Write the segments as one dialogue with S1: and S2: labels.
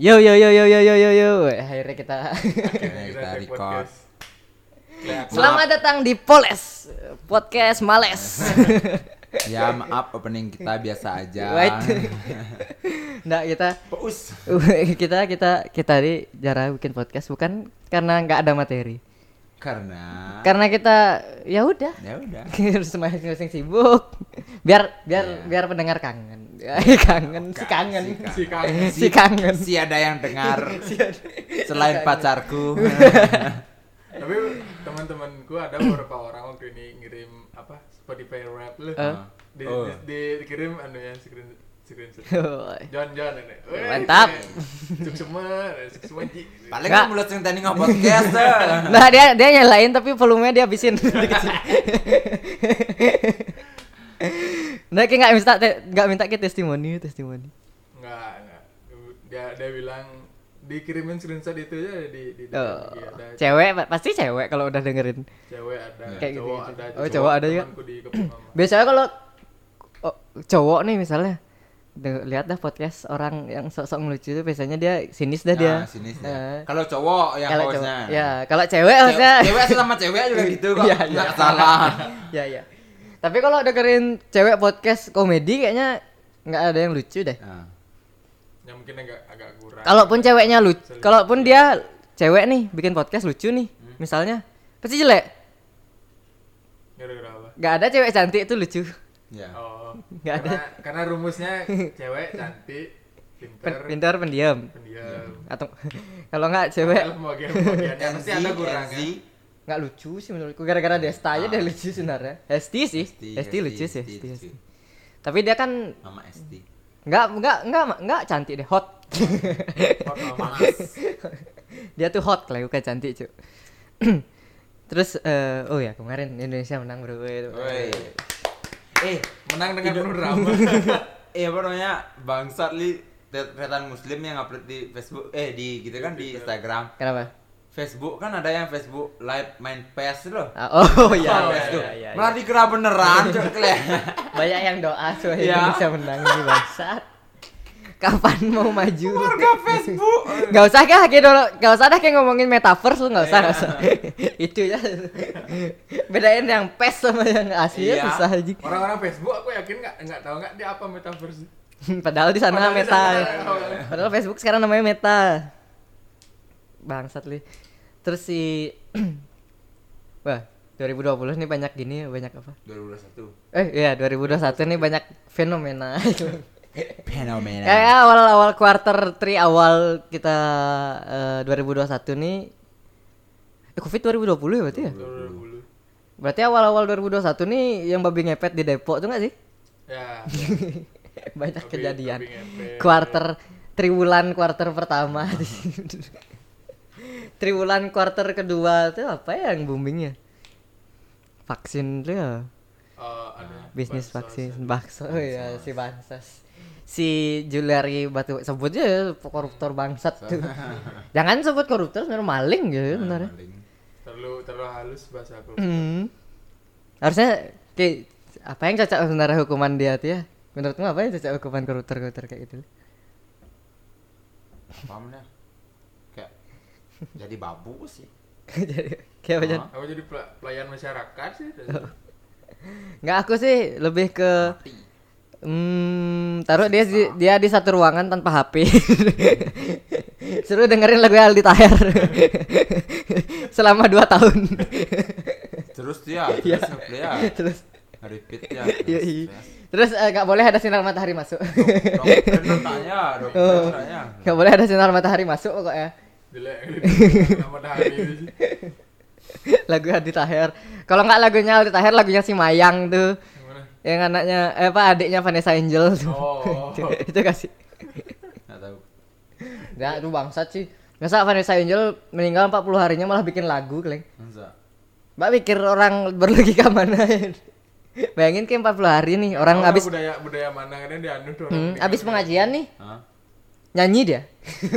S1: Yo yo yo yo yo yo yo yo. Akhirnya kita
S2: Akhirnya kita
S3: take
S2: record.
S3: podcast. Kayak aku-
S1: Selamat datang di Poles Podcast Males.
S2: Ya maaf opening kita biasa aja.
S1: Wait. Iya. Nggak kita
S3: Paus.
S1: kita kita kita di jarang bikin podcast bukan karena nggak ada materi.
S2: Karena
S1: Karena kita ya udah
S2: ya udah.
S1: harus masing-masing sibuk. Biar biar
S2: Iya.
S1: biar pendengar kangen. Eh, kangen, si kangen.
S3: Si kangen.
S1: Si kangen.
S2: Si ada yang dengar selain pacarku.
S3: Tapi teman-temanku ada beberapa orang waktu ini ngirim apa Spotify rap lu.
S1: Eh?
S3: Di,
S2: Oh.
S3: di- di- dikirim anu ya screen screenshot. John John ini.
S1: Mantap.
S3: Cuk semua, cuk semua ji.
S2: Paling
S1: Nggak.
S2: kan mulut yang tadi nge-podcast. eh.
S1: Nah dia dia nyalain tapi volumenya dia habisin dikecil. nah kayak nggak minta nggak minta ke testimoni testimoni.
S3: Enggak, enggak. Dia dia bilang dikirimin screenshot itu aja di
S2: Iya,
S3: di, di
S1: Oh,
S3: di- ada
S1: cewek pa- pasti cewek kalau udah dengerin.
S3: cewek ada
S1: Kayak gitu,
S3: cowok
S1: gitu.
S3: ada
S1: Oh, cowok ada juga.
S3: temanku di Kepemama.
S1: Biasanya kalau oh, cowok nih misalnya de- lihat dah podcast orang yang sok-sok lucu itu biasanya dia sinis dah dia.
S2: Nah, sini. sini.
S1: Nah,
S2: Kalau cowok yang
S1: kalau cowok,
S2: hostnya.
S1: ya kalau cewek
S2: Cewek-
S1: harusnya
S2: Cewek sama cewek juga gitu kok.
S1: Iya, iya.
S2: Enggak salah.
S1: ya ya. Tapi kalau dengerin cewek podcast komedi kayaknya nggak ada yang lucu deh.
S2: Nah,
S3: Yang Ya, mungkin agak agak kurang.
S1: Kalaupun ceweknya lucu,
S3: Selalu.
S1: kalaupun dia cewek nih bikin podcast lucu nih, misalnya pasti jelek.
S3: gara-gara apa?
S1: Gak ada cewek cantik itu lucu.
S2: Ya.
S3: Oh,
S1: Nggak ada.
S3: karena, karena rumusnya cewek cantik, pinter,
S1: Pen- Iya. Pintar pendiam.
S3: pendiam.
S1: Atau kalau nggak cewek
S3: Dalam bagian-bagiannya pasti ada kan?
S2: NZ,
S3: kurangnya.
S2: NZ.
S1: nggak lucu sih menurutku gara-gara Desta aja dia lucu sebenarnya. Hesti sih.
S2: Hesti,
S1: Hesti lucu sih.
S2: Hesti,
S1: Hesti,
S2: Hesti.
S1: Hesti. Tapi dia kan
S2: Mama SD.
S1: nggak nggak nggak nggak cantik deh hot.
S3: Hot mama.
S1: dia tuh hot lah bukan cantik cuy. Terus eh, oh ya kemarin Indonesia menang bro.
S2: Woi. Eh,
S3: Menang dengan penuh drama.
S2: eh apa namanya bangsat li Tet- retan muslim yang upload di Facebook eh di gitu kan di Instagram
S1: Kenapa?
S2: Facebook kan ada yang Facebook live main PS loh
S1: Ah, oh
S2: Iya,
S1: iya,
S2: PS
S1: iya,
S2: tuh.
S1: iya, iya.
S2: Malah dikira beneran, cok kle.
S1: Banyak yang doa supaya
S2: Iya.
S1: Indonesia menang di bangsat. Kapan mau maju?
S2: Warga Facebook.
S1: Gak usah kah kayak dulu, gak usah dah kayak ngomongin metaverse lu gak usah, gak usah. Itu ya. Bedain yang pes sama yang asli ya
S2: Iya.
S1: susah aja.
S3: Orang-orang Facebook aku yakin nggak nggak tahu nggak dia apa metaverse.
S1: Padahal di sana
S3: Padahal di
S1: meta.
S3: sana.
S1: Padahal Facebook sekarang namanya meta. Bangsat li. Terus si Wah, 2020 nih banyak gini, banyak apa?
S2: 2021.
S1: Eh iya 2021 nih banyak fenomena.
S2: Fenomena.
S1: Kayak awal-awal ya, quarter 3 awal kita eh, 2021 nih eh, Covid 2020 ya berarti ya?
S3: Dulu dulu.
S1: Berarti awal-awal 2021 nih yang babi ngepet di Depok tuh gak sih?
S3: Ya.
S1: Banyak
S3: Babi-
S1: kejadian.
S3: babi ngepet.
S1: Quarter triwulan quarter pertama. triwulan quarter kedua tuh apa ya yang boomingnya? Vaksin tuh ya.
S3: Eh, anu,
S1: Bisnis
S3: bansos.
S1: vaksin bakso oh ya si bangsas. Si Juliari Batu sebut aja koruptor bangsat tuh. Jangan sebut koruptor sebenarnya maling gitu sebenarnya.
S2: Paling.
S3: Terlalu terlalu halus bahasa aku.
S1: Hmm. Harusnya kayak apa yang cocok sebenarnya hukuman dia tuh ya? Menurutmu apa yang cocok hukuman koruptor-koruptor kayak gitu?
S2: Apa namanya? Kayak jadi babu sih.
S1: Jadi kayak apa, Jan?
S2: Ah.
S3: Aku jadi pel- pelayan masyarakat sih.
S1: Nggak aku sih lebih ke
S2: Mati.
S1: Hmm, taruh dia di, dia di satu ruangan tanpa HP. Suruh dengerin lagu Aldi Taher. Selama 2 tahun.
S2: Terus dia, terus dia.
S1: Terus
S2: Repeat ya.
S1: iya, iya. Terus eh, nggak boleh ada sinar matahari masuk.
S2: Dokter nanya,
S1: Oh.
S2: dokter nanya.
S1: Nggak boleh ada sinar matahari masuk ya. pokoknya.
S3: Jelek. Nama hari itu sih.
S1: Lagu Aldi Taher. Kalau nggak lagunya Aldi Taher, lagunya si Mayang tuh.
S3: Gimana?
S1: Yang anaknya eh apa adiknya Vanessa Angel tuh.
S3: Oh.
S1: itu, itu kasih.
S2: Nggak tahu.
S1: Ya, itu bangsat sih. Masa Vanessa Angel meninggal 40 harinya malah bikin lagu, Kleng?
S2: Masa?
S1: Mbak pikir orang berlogika mana ya? Bayangin kayak 40 hari nih orang
S3: Orang
S1: habis
S3: budaya budaya mana kan dia anu tuh
S1: hmm,
S3: orang pendengar.
S1: habis pengajian nih
S2: Hah?
S1: nyanyi dia.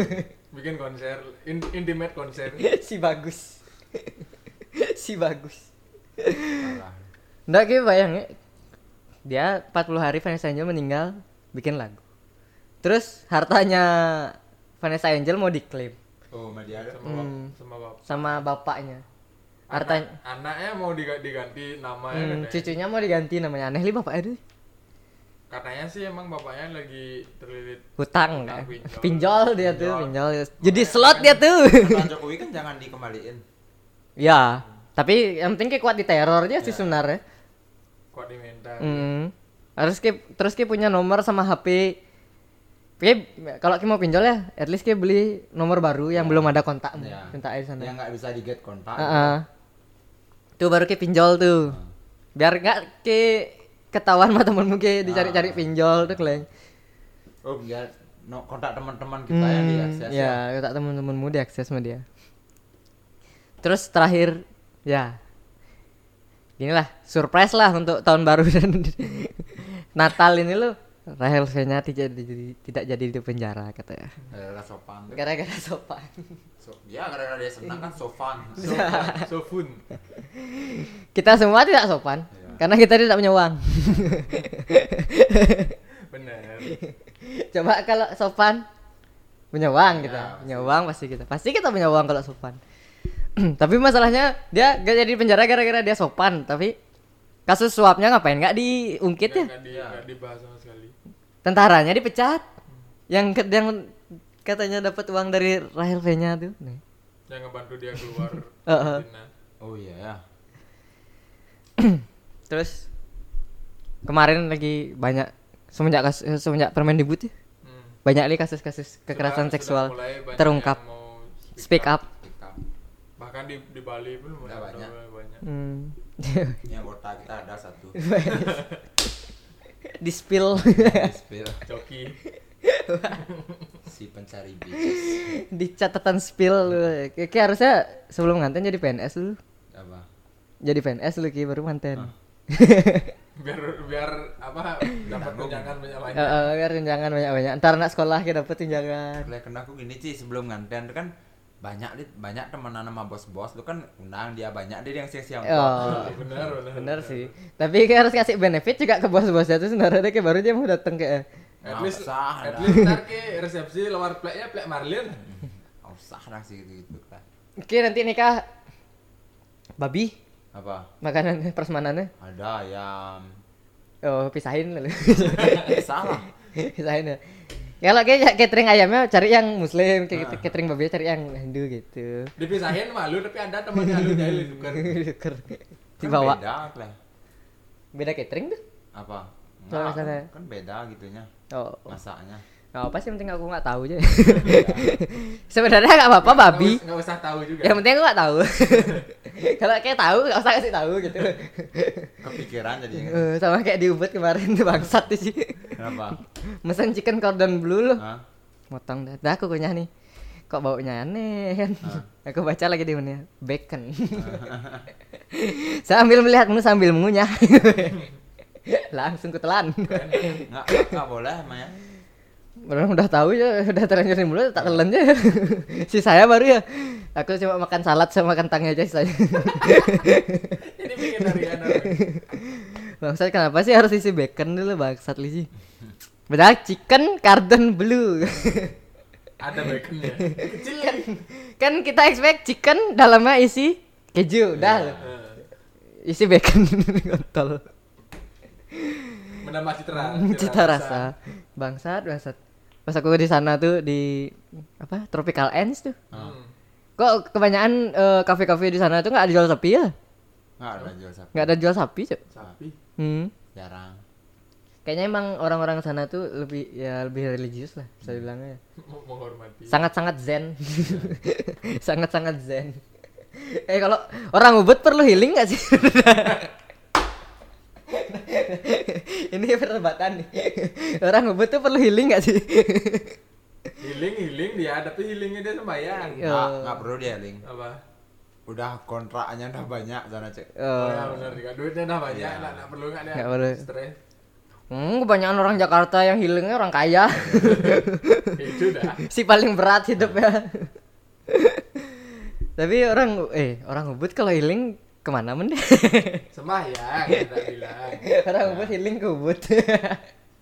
S3: bikin konser in- intimate konser
S1: si bagus. si bagus.
S2: Parah.
S1: Nggak kayak bayangin dia 40 hari Vanessa Angel meninggal bikin lagu. Terus hartanya Vanessa Angel mau diklaim
S2: Oh, media ada.
S3: sama bap-
S1: Hmm.
S3: sama bap-
S1: sama bapaknya.
S3: Anak-
S1: Hartanya
S3: anaknya mau diga- diganti nama ya
S1: Hmm,
S3: katanya.
S1: cucunya mau diganti namanya aneh li bapaknya deh.
S3: katanya sih emang bapaknya lagi terlilit
S1: Hutang
S2: Ah,
S3: Hutang,
S1: kan.
S3: pinjol.
S1: Pinjol dia tuh, pinjol.
S3: Pinjol.
S1: Jadi
S3: Makanya
S1: slot dia tuh.
S2: Kata Jokowi kan jangan dikembaliin.
S1: ya, tapi yang penting kayak kuat di terornya sih
S2: Ya.
S1: sebenarnya.
S3: kuat di mental
S1: Hmm. Harus ki terus ki punya nomor sama HP. Ki kalau ki mau pinjol ya, at least ki beli nomor baru yang belum ada kontakmu.
S2: Ya.
S1: Anu, Minta aja di sana.
S2: Yang nggak bisa diget kontak.
S1: Heeh. Tuh baru ki pinjol tuh.
S2: Hmm.
S1: Biar nggak ki ketahuan sama temenmu
S2: Ya.
S1: ki dicari-cari pinjol tuh kleng.
S2: Oh, biar no, kontak teman-teman kita yang
S1: Hmm,
S2: diakses.
S1: ya,
S2: ya.
S1: tak teman-temanmu diakses sama dia. Terus terakhir, ya. Inilah surprise lah untuk tahun baru dan Natal ini lo. Rahel Fenya tidak jadi tidak jadi di penjara ya. katanya.
S2: Gara-gara Eh, sopan. tuh.
S1: Gara-gara sopan.
S2: So, ya gara-gara dia senang kan sopan.
S3: so, so fun
S1: Kita semua tidak sopan
S2: Iya.
S1: karena kita tidak punya uang.
S3: bener
S1: Coba kalau sopan punya uang kita,
S2: Ya,
S1: punya uang pasti kita. Pasti kita punya uang kalau sopan. tapi masalahnya dia gak jadi di penjara gara-gara dia sopan, tapi kasus suapnya ngapain nggak diungkit ya?
S3: Nggak-
S2: Iya.
S3: nggak di- nggak dibahas sama sekali
S1: Tentaranya dipecat. Yang ke, yang katanya dapat uang dari Rahel V-nya tuh. Nih.
S3: yang ngebantu dia keluar
S1: Heeh.
S3: Cina.
S2: Oh iya ya.
S1: Terus kemarin lagi banyak semenjak kas- eh, semenjak Permendikbud ya,
S3: Hmm.
S1: banyak nih kasus-kasus kekerasan
S3: Sudah-
S1: seksual
S3: sudah mulai banyak
S1: terungkap.
S3: yang mau
S1: Speak up.
S2: Kita
S3: bahkan di, di Bali pun mulai
S2: Udah banyak.
S3: mulai banyak
S1: Hmm.
S2: yang kota kita ada satu.
S1: di spill
S2: Spill.
S1: Hmm.
S3: joki
S2: si pencari bisnis
S1: di catatan spill lu. Ki- Ki harusnya sebelum nganten jadi PNS lu
S2: apa?
S1: jadi PNS lu ki baru manten
S2: Ah.
S3: biar biar apa dapat
S2: Nanggung.
S3: tunjangan banyak
S1: Eh,
S3: banyak
S1: eh, biar tunjangan banyak banyak ntar anak sekolah ki dapet tunjangan
S2: Lah kena aku gini sih sebelum nganten kan banyak dit banyak temenan sama bos-bos lu kan undang dia banyak dia yang siang-siang.
S1: Oh.
S3: bener bener
S1: bener sih tapi ki harus kasih benefit juga ke bos-bosnya tuh sebenarnya ki baru dia mau datang ke
S3: at least
S2: Nggak usah,
S3: at
S2: dah.
S3: least ntar ke resepsi luar pleknya plek Marlin
S2: Oh, usah lah sih gitu-gitu lah.
S1: ki nanti nikah babi
S2: Apa?
S1: makanannya prasmanannya
S2: Ada ayam.
S1: oh pisahin lu
S2: Salah.
S1: pisahin ya kalau kayak ya, catering ayamnya cari yang muslim kayak gitu, catering babi cari yang Hindu gitu
S3: dipisahin malu tapi ada temannya lu jahil bukan
S1: Diker.
S2: Kan
S1: Dibawa.
S2: Beda lah.
S1: Beda catering tuh.
S2: Apa?
S1: Kalau
S2: Nggak,
S1: misalnya-
S2: kan, kan beda gitunya
S1: Oh,
S2: masaknya.
S1: nggak apa sih yang penting aku nggak tahu aja. Sebenarnya nggak apa-apa babi.
S3: nggak usah tahu juga
S1: Yang penting aku nggak tahu. Kalau kayak tahu nggak usah kasih tahu gitu.
S2: Kepikiran jadi
S1: Eh, sama kayak di Ubud kemarin tuh bangsat tuh sih.
S2: kenapa?
S1: Mesen chicken cordon bleu loh.
S2: Hah?
S1: Motong dah. Dah aku kunyah nih. Kok baunya aneh kan? Aku baca lagi di menunya bacon. sambil melihat menu sambil mengunyah. Langsung kutelan.
S2: Enggak, enggak boleh emang ya.
S1: Orang udah tahu ya, udah terlanjur di mulut, tak telan aja. si saya baru ya, aku cuma makan salad sama kentangnya aja saya.
S3: ini bikin dari Ana
S1: Bangsat kenapa sih harus isi bacon dulu bangsat Lisi? Padahal chicken cardon blue.
S3: ada baconnya kecil
S1: kan, kan kita expect chicken dalamnya isi keju, dah
S2: Iya.
S3: Eh,
S1: isi bacon kontol.
S3: menambah citra
S1: Cita Hmm, rasa. Bangsat, bangsat. Pas aku di sana tuh di apa? Tropical Ends tuh.
S3: Hmm.
S1: Kok kebanyakan eh, kafe-kafe di sana tuh nggak ada jual sapi ya?
S2: Enggak ada jual sapi.
S1: nggak ada jual sapi cok
S3: sapi
S1: hmm.
S2: Jarang.
S1: kayaknya emang orang-orang sana tuh lebih ya lebih religius lah bisa dibilangnya
S3: Meng- menghormati
S1: sangat-sangat zen sangat-sangat zen eh kalau orang ubud perlu healing nggak sih ini perdebatan nih orang ubud tuh perlu healing nggak sih
S3: healing healing dia tapi healingnya dia sembahyang
S1: Iya.
S2: Enggak, enggak perlu dia link.
S3: apa
S2: Udah kontraknya udah banyak sana cek.
S3: oh,
S1: Eh,
S3: ya benar juga duitnya dah banyak
S2: Iya.
S3: nggak nggak perlu nggak
S1: Nggak perlu.
S3: dia stres
S1: hmm, kebanyakan orang Jakarta yang healingnya orang kaya
S3: Ya, itu dah
S1: si paling berat hidupnya. Tapi orang eh orang Ubud kalau healing kemana men?
S3: sembahyang kita bilang
S1: orang Ubud healing ke Ubud.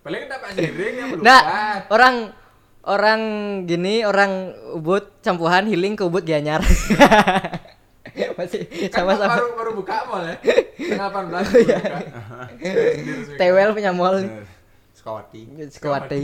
S3: paling dapat jiring yang
S1: nah,
S3: melukat
S1: orang orang gini orang ubud campuhan healing ke ubud gianyar masih
S3: Kan
S1: sama-sama
S3: baru baru buka mall ya. Tengah 18
S1: Oh, iya.
S3: baru buka.
S1: tewel punya mall
S2: Bener. Sukawati.
S1: Sukawati.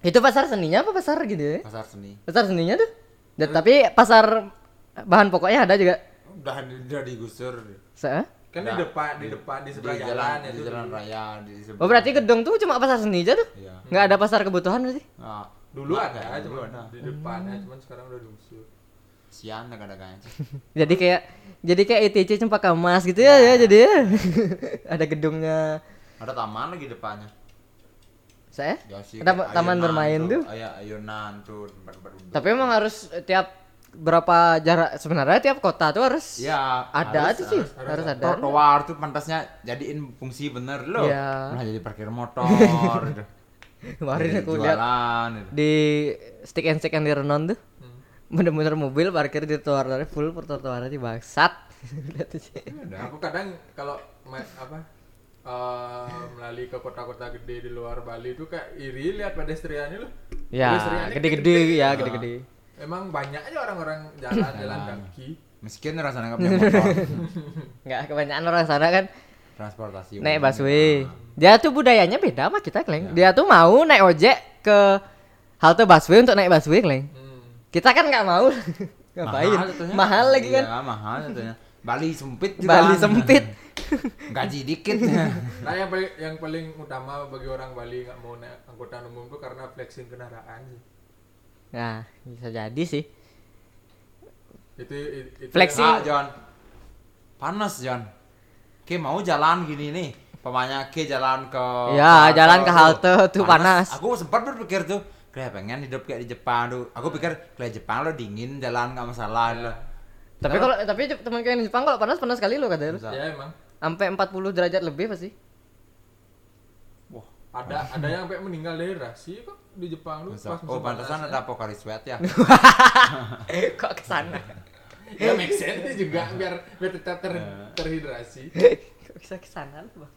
S1: itu pasar seninya apa pasar gitu ya
S2: Pasar seni.
S1: pasar seninya tuh Dan, tapi pasar bahan pokoknya ada juga
S2: Udah udah digusur.
S1: Se-
S3: Kan di
S2: Nah,
S3: depan, di depan di sebelah jalan, ya,
S2: di
S3: itu.
S2: jalan raya di sebelah.
S1: oh berarti gedung tuh cuma pasar seni aja tuh
S2: Iya.
S1: nggak ada pasar kebutuhan berarti
S2: Nah,
S3: Dulu ada,
S2: dulu
S3: cuma
S2: ada.
S3: ya, di depannya, cuman sekarang udah diusir.
S2: Sian kadang-kadang.
S1: jadi kayak jadi kayak E ETC cempaka emas gitu ya, ya jadi ya. ada gedungnya
S2: Ada taman lagi depannya.
S1: saya
S2: Dikasih
S1: ada
S2: kayak
S1: taman
S2: ayunan
S1: bermain tuh
S2: Iya, ayunan tuh tempat berduduk.
S1: Tapi emang harus tiap berapa jarak sebenarnya tiap kota tuh harus
S2: Iya,
S1: ada
S2: harus-
S1: tuh sih,
S2: harus-
S1: harus, ada.
S2: trotoar tuh pantasnya jadiin fungsi bener loh.
S1: Iya.
S2: Malah jadi parkir motor. gitu.
S1: Kemarin
S2: Jadi
S1: aku lihat
S2: Iya, jualan, gitu.
S1: di stick and stick yang di Renon tuh
S3: Hmm.
S1: bener-bener mobil parkir di trotoar full per trotoar aja bangsat. Lihat aja.
S3: Nah, Aku kadang kalau ma- apa eh, melalui ke kota-kota gede di luar Bali itu kayak iri lihat pedestriannya loh.
S1: ya,
S2: kan,
S3: Pedestriannya
S1: gede-gede ya,
S3: Nah,
S1: gede-gede.
S3: Emang banyak aja orang-orang jalan-jalan kaki.
S2: Miskin rasanya nggak punya motor.
S1: Enggak kebanyakan orang sana kan
S2: Transportasi.
S1: naik
S2: umum. Nah,
S1: busway. Dia tuh budayanya beda sama kita, Kleng.
S2: Ya.
S1: Dia tuh mau naik ojek ke halte busway untuk naik busway, Kleng.
S3: Hmm.
S1: Kita kan nggak mau. Ngapain?
S2: Mahal
S1: Mahal,
S2: jatuhnya.
S1: lagi kan.
S2: Iya, mahal jatuhnya. Bali sempit juga.
S1: Bali sempit.
S2: Gaji dikit.
S3: Nah yang paling yang paling utama bagi orang Bali nggak mau naik angkutan umum tuh karena flexing kendaraan sih.
S1: Nah, bisa jadi sih.
S3: Itu, i- itu
S1: Flexing.
S2: Ah, John. Panas, John. Ke mau jalan gini nih. Pamanya Ke jalan ke
S1: Ya, jalan ke
S2: tuh.
S1: halte tuh panas.
S2: Aku sempat berpikir tuh, kayak pengen hidup kayak di Jepang tuh. Aku pikir kayak Jepang lo dingin, jalan nggak masalah lo.
S3: Iya.
S1: Tapi kalau tapi teman yang di Jepang kalau panas panas sekali lo katanya. lo.
S2: Bisa.
S3: Ya emang
S1: Sampai 40 derajat lebih pasti.
S2: Wah,
S3: ada ada yang sampai meninggal dari rasi kok di Jepang lu
S2: bisa.
S3: pas
S2: Oh,
S3: musim
S2: pantesan
S3: panas.
S2: ada Pocari Sweat ya.
S1: Eh, Kok ke sana?
S3: Ya make sense juga biar biar tetap ter,
S1: Iya.
S3: terhidrasi.
S1: Kok bisa ke sana lo, Bang?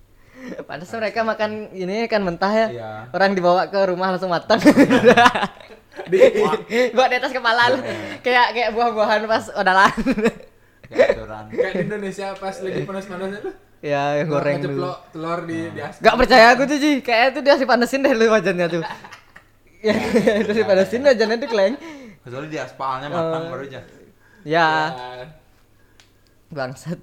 S1: Panas mereka makan ini kan mentah ya.
S2: Iya.
S1: Orang dibawa ke rumah langsung matang. Buat di Iya, atas kepala lo. Kayak kayak buah-buahan pas odalan.
S2: Kayak aturan.
S3: Kayak di Indonesia pas lagi panas-panasnya tuh.
S1: ya yang Eh. goreng dulu.
S3: ngejeplok telur di di aspal.
S1: Gak percaya aku tuh Ji, kayaknya tuh dia harus dipanasin deh lu wajannya tuh Ya, harus dipanasin wajannya tuh kleng
S2: Kecuali di aspalnya
S1: Eh,
S2: matang baru aja.
S1: Ya,
S3: Ya.
S1: Bangsat.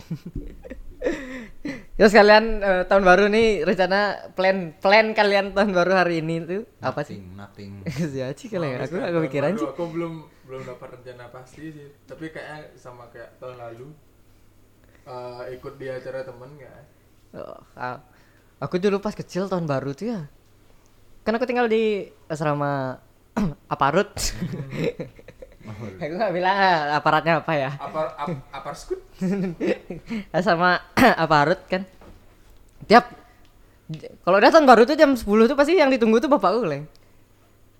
S1: Terus kalian eh, tahun baru nih rencana plan plan kalian tahun baru hari ini tuh apa sih?
S2: Nothing. nothing.
S1: ya sih kalian aku
S3: Tahun
S1: aku pikiran
S3: baru
S1: sih.
S3: Aku belum belum dapat rencana pasti sih. Tapi kayaknya sama kayak tahun lalu eh, ikut di acara temen kan. nggak?
S1: Oh, ah. aku dulu pas kecil tahun baru tuh ya. Kan aku tinggal di asrama aparut.
S2: Hmm.
S1: aku nggak bilang ah, aparatnya apa ya.
S3: Apar ap, apar skut?
S1: sama aparut kan. Tiap kalau udah tahun baru tuh jam 10 tuh pasti yang ditunggu tuh bapakku, Leng.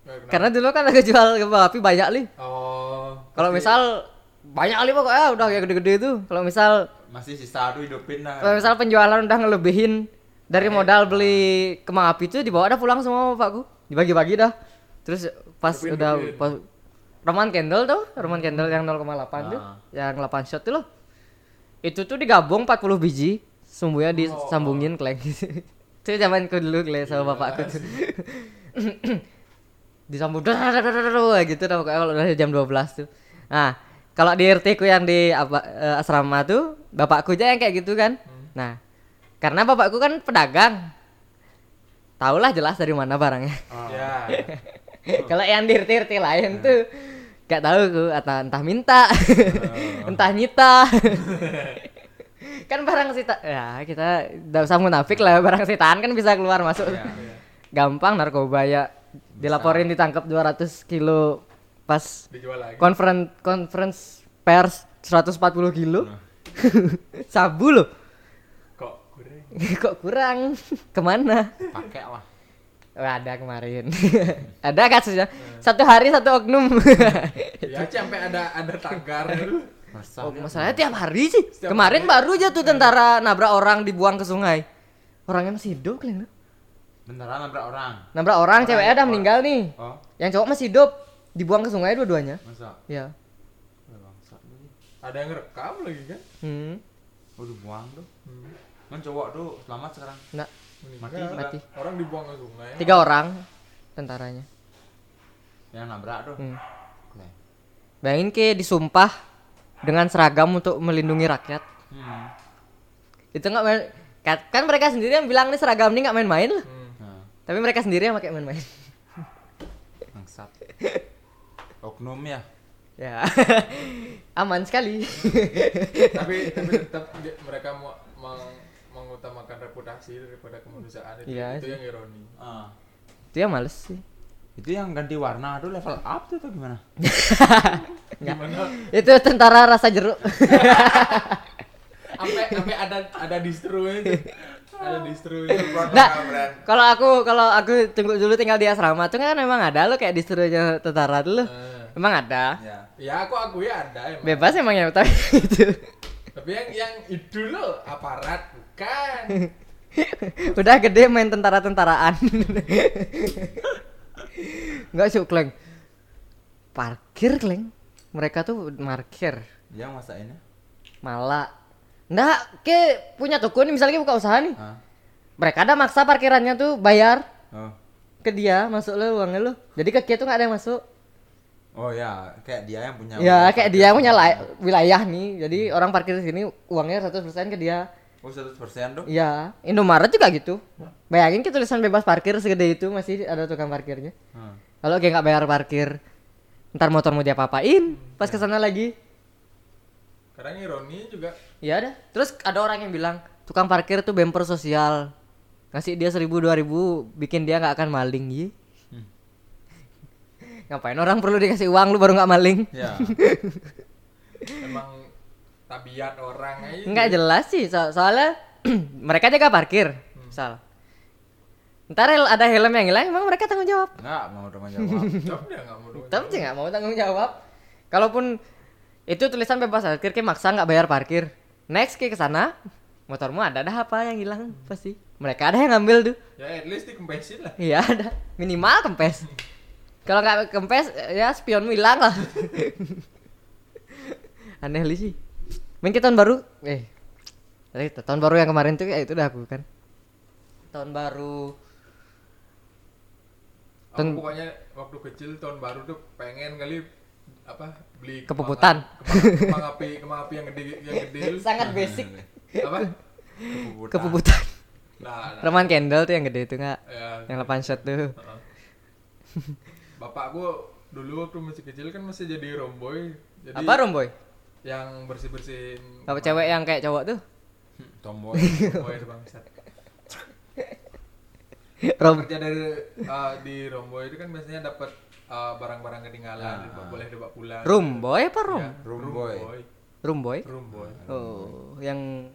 S3: Nggak kenal.
S1: Karena dulu kan aku jual kebab api banyak nih.
S3: Oh.
S1: Kalau misal banyak kali pokoknya udah kayak gede-gede itu. Kalau misal
S2: Masih sisa aduh hidupin lah.
S1: kalau misal penjualan udah ngelebihin dari modal beli kembang api itu dibawa dah pulang semua sama bapakku. Dibagi-bagi dah. Terus pas
S3: Dibeliin,
S1: udah
S3: dibeliin.
S1: pas Roman candle tuh, Roman candle yang 0,8 tuh,
S2: Ah.
S1: yang 8 shot tuh loh. Itu tuh digabung 40 biji, sumbunya disambungin kleng. itu zamanku dulu kleng sama bapakku. tuh. disambut dar, dar, dar, dar, dar, gitu dah pokoknya kalau udah jam 12 tuh. Nah, kalau di RT ku yang di apa, eh, asrama tuh bapakku aja yang kayak gitu kan. Nah, karena bapakku kan pedagang. Taulah jelas dari mana barangnya.
S3: Ya.
S1: kalau yang di RT RT lain tuh gak tahu ku atau entah minta, entah nyita. kan barang sita ya kita tidak usah munafik lah barang sitaan kan bisa keluar masuk
S2: Iya.
S1: gampang narkoba ya dilaporin ditangkap 200 kilo pas
S3: Dijual lagi.
S1: konferen conference pers 140 kilo sabu loh
S3: Kok kurang?
S1: kok kurang kemana
S2: Pakai lah.
S1: Oh, ada kemarin ada kasusnya satu hari satu oknum
S3: Ya sampai ada ada tagar dulu.
S2: Resah.
S1: oh, masalahnya tiap hari sih
S3: Setiap
S1: kemarin baru aja tuh tentara nabrak orang dibuang ke sungai orangnya masih hidup kalian
S2: Beneran nabrak orang.
S1: Nabrak orang,
S2: Orang-
S1: ceweknya udah
S2: orang-
S1: meninggal nih.
S2: Oh,
S1: Yang cowok masih hidup, dibuang ke sungai dua-duanya.
S2: masa?
S1: Ya.
S2: Wah, Bangsat lagi.
S3: Ada yang rekam lagi kan?
S1: Hmm.
S2: Waduh, buang tuh.
S3: Hmm.
S2: Kan cowok tuh selamat sekarang.
S1: Nah,
S2: Mati,
S3: Meninggal.
S1: mati.
S3: Orang dibuang ke sungai.
S1: tiga orang tentaranya.
S2: Yang nabrak tuh.
S1: Hmm.
S2: Oke.
S1: Bayangin ke disumpah dengan seragam untuk melindungi rakyat.
S2: Hmm.
S1: Itu nggak main Ka- kan mereka sendiri yang bilang nih seragam ini nggak main-main lah.
S3: Hmm.
S2: Nah,
S1: Tapi mereka sendiri yang pakai main-main.
S2: bangsat. Oknum ya.
S1: ya. Aman sekali.
S3: tapi tapi tetap dia- mereka mau meng- mengutamakan reputasi daripada kemanusiaan itu,
S1: Iya
S3: itu
S1: sih.
S3: yang ironi.
S2: Ah.
S1: itu ya males sih.
S2: Itu yang ganti warna tuh level up tuh atau gimana?
S3: Gimana?
S1: Itu tentara rasa jeruk.
S3: Sampai sampai ada ada distro itu. Ada distro itu.
S1: Nah, kalau aku kalau aku tunggu dulu tinggal di asrama tuh kan memang ada lo kayak disuruhnya tentara dulu.
S3: Eh,
S1: Emang ada.
S2: Ya.
S3: Ya aku akui ada emang.
S1: Bebas emang ya tapi itu.
S3: Tapi yang yang itu loh aparat bukan.
S1: Udah gede main tentara-tentaraan. Enggak sih, Kleng. Parkir, Kleng. Mereka tuh markir.
S2: Yang masainnya?
S1: Malah. Nggak, ke punya toko nih misalnya ke buka usaha nih.
S2: Ah.
S1: Mereka ada maksa parkirannya tuh bayar
S2: Oh.
S1: ke dia masuk lo uangnya lo. Jadi ke kia tuh nggak ada yang masuk.
S2: Oh ya, kayak dia yang punya.
S1: Ya, kayak dia punya lai-
S2: lain
S1: wilayah nih. Jadi orang parkir di sini uangnya 100% ke dia.
S2: Oh, 100% tuh.
S1: Iya, Indomaret juga gitu. Bayangin ke tulisan bebas parkir segede itu masih ada tukang parkirnya.
S2: Hmm.
S1: Kalau kayak nggak bayar parkir, ntar motormu dia papain. Pas ke sana lagi,
S3: Kadang ironi juga
S1: ya ada. Terus ada orang yang bilang tukang parkir tuh bemper sosial. Ngasih dia seribu dua ribu, bikin dia nggak akan maling Yi.
S2: Hmm.
S1: Ngapain orang perlu dikasih uang lu baru nggak maling?
S2: Ya.
S3: emang tabiat orang aja.
S1: Nggak jelas sih, so- soalnya mereka jaga parkir, misal. Ntar hel- ada helm yang hilang, emang mereka tanggung jawab.
S2: Enggak mau dong jawab.
S3: Tapi dia nggak mau dong.
S1: Tapi sih nggak mau tanggung jawab. Kalaupun itu tulisan bebas parkir, kayak maksa nggak bayar parkir. Next kayak ke sana, motormu ada dah apa yang hilang pasti. Mereka ada yang ngambil tuh.
S3: Ya at least dikempesin lah.
S1: Iya ada. Minimal kempes. Kalau nggak kempes ya spionmu hilang lah. Aneh li sih. Main ke tahun baru, eh tadi tuh, tahun baru yang kemarin tuh kayak itu udah aku kan. Tahun baru
S3: Aku
S1: Ten-
S3: pokoknya waktu kecil tahun baru tuh pengen kali apa beli
S1: Kepuputan.
S3: kembang- kembang kembang api kembang api yang gede yang gede itu.
S1: sangat basic
S3: apa
S2: Kepuputan.
S1: kepuputan.
S3: nah, nah.
S1: Roman candle tuh yang gede itu nggak?
S3: Ya,
S1: Yang 8 shot tuh.
S3: heeh. bapakku dulu waktu masih kecil kan masih jadi romboy jadi
S1: Apa romboy?
S3: yang bersih bersihin
S1: Apa cewek yang kayak cowok tuh?
S2: Tomboy.
S3: romboy itu bangsat
S1: Rom
S3: kerja dari eh, di romboy itu kan biasanya dapat eh, barang-barang ketinggalan
S2: Ah.
S3: boleh dibawa pulang
S1: Rumboy apa rom? Eh?
S3: Ya,
S2: Romboy.
S1: Rumboy?
S3: romboy
S1: Oh, yang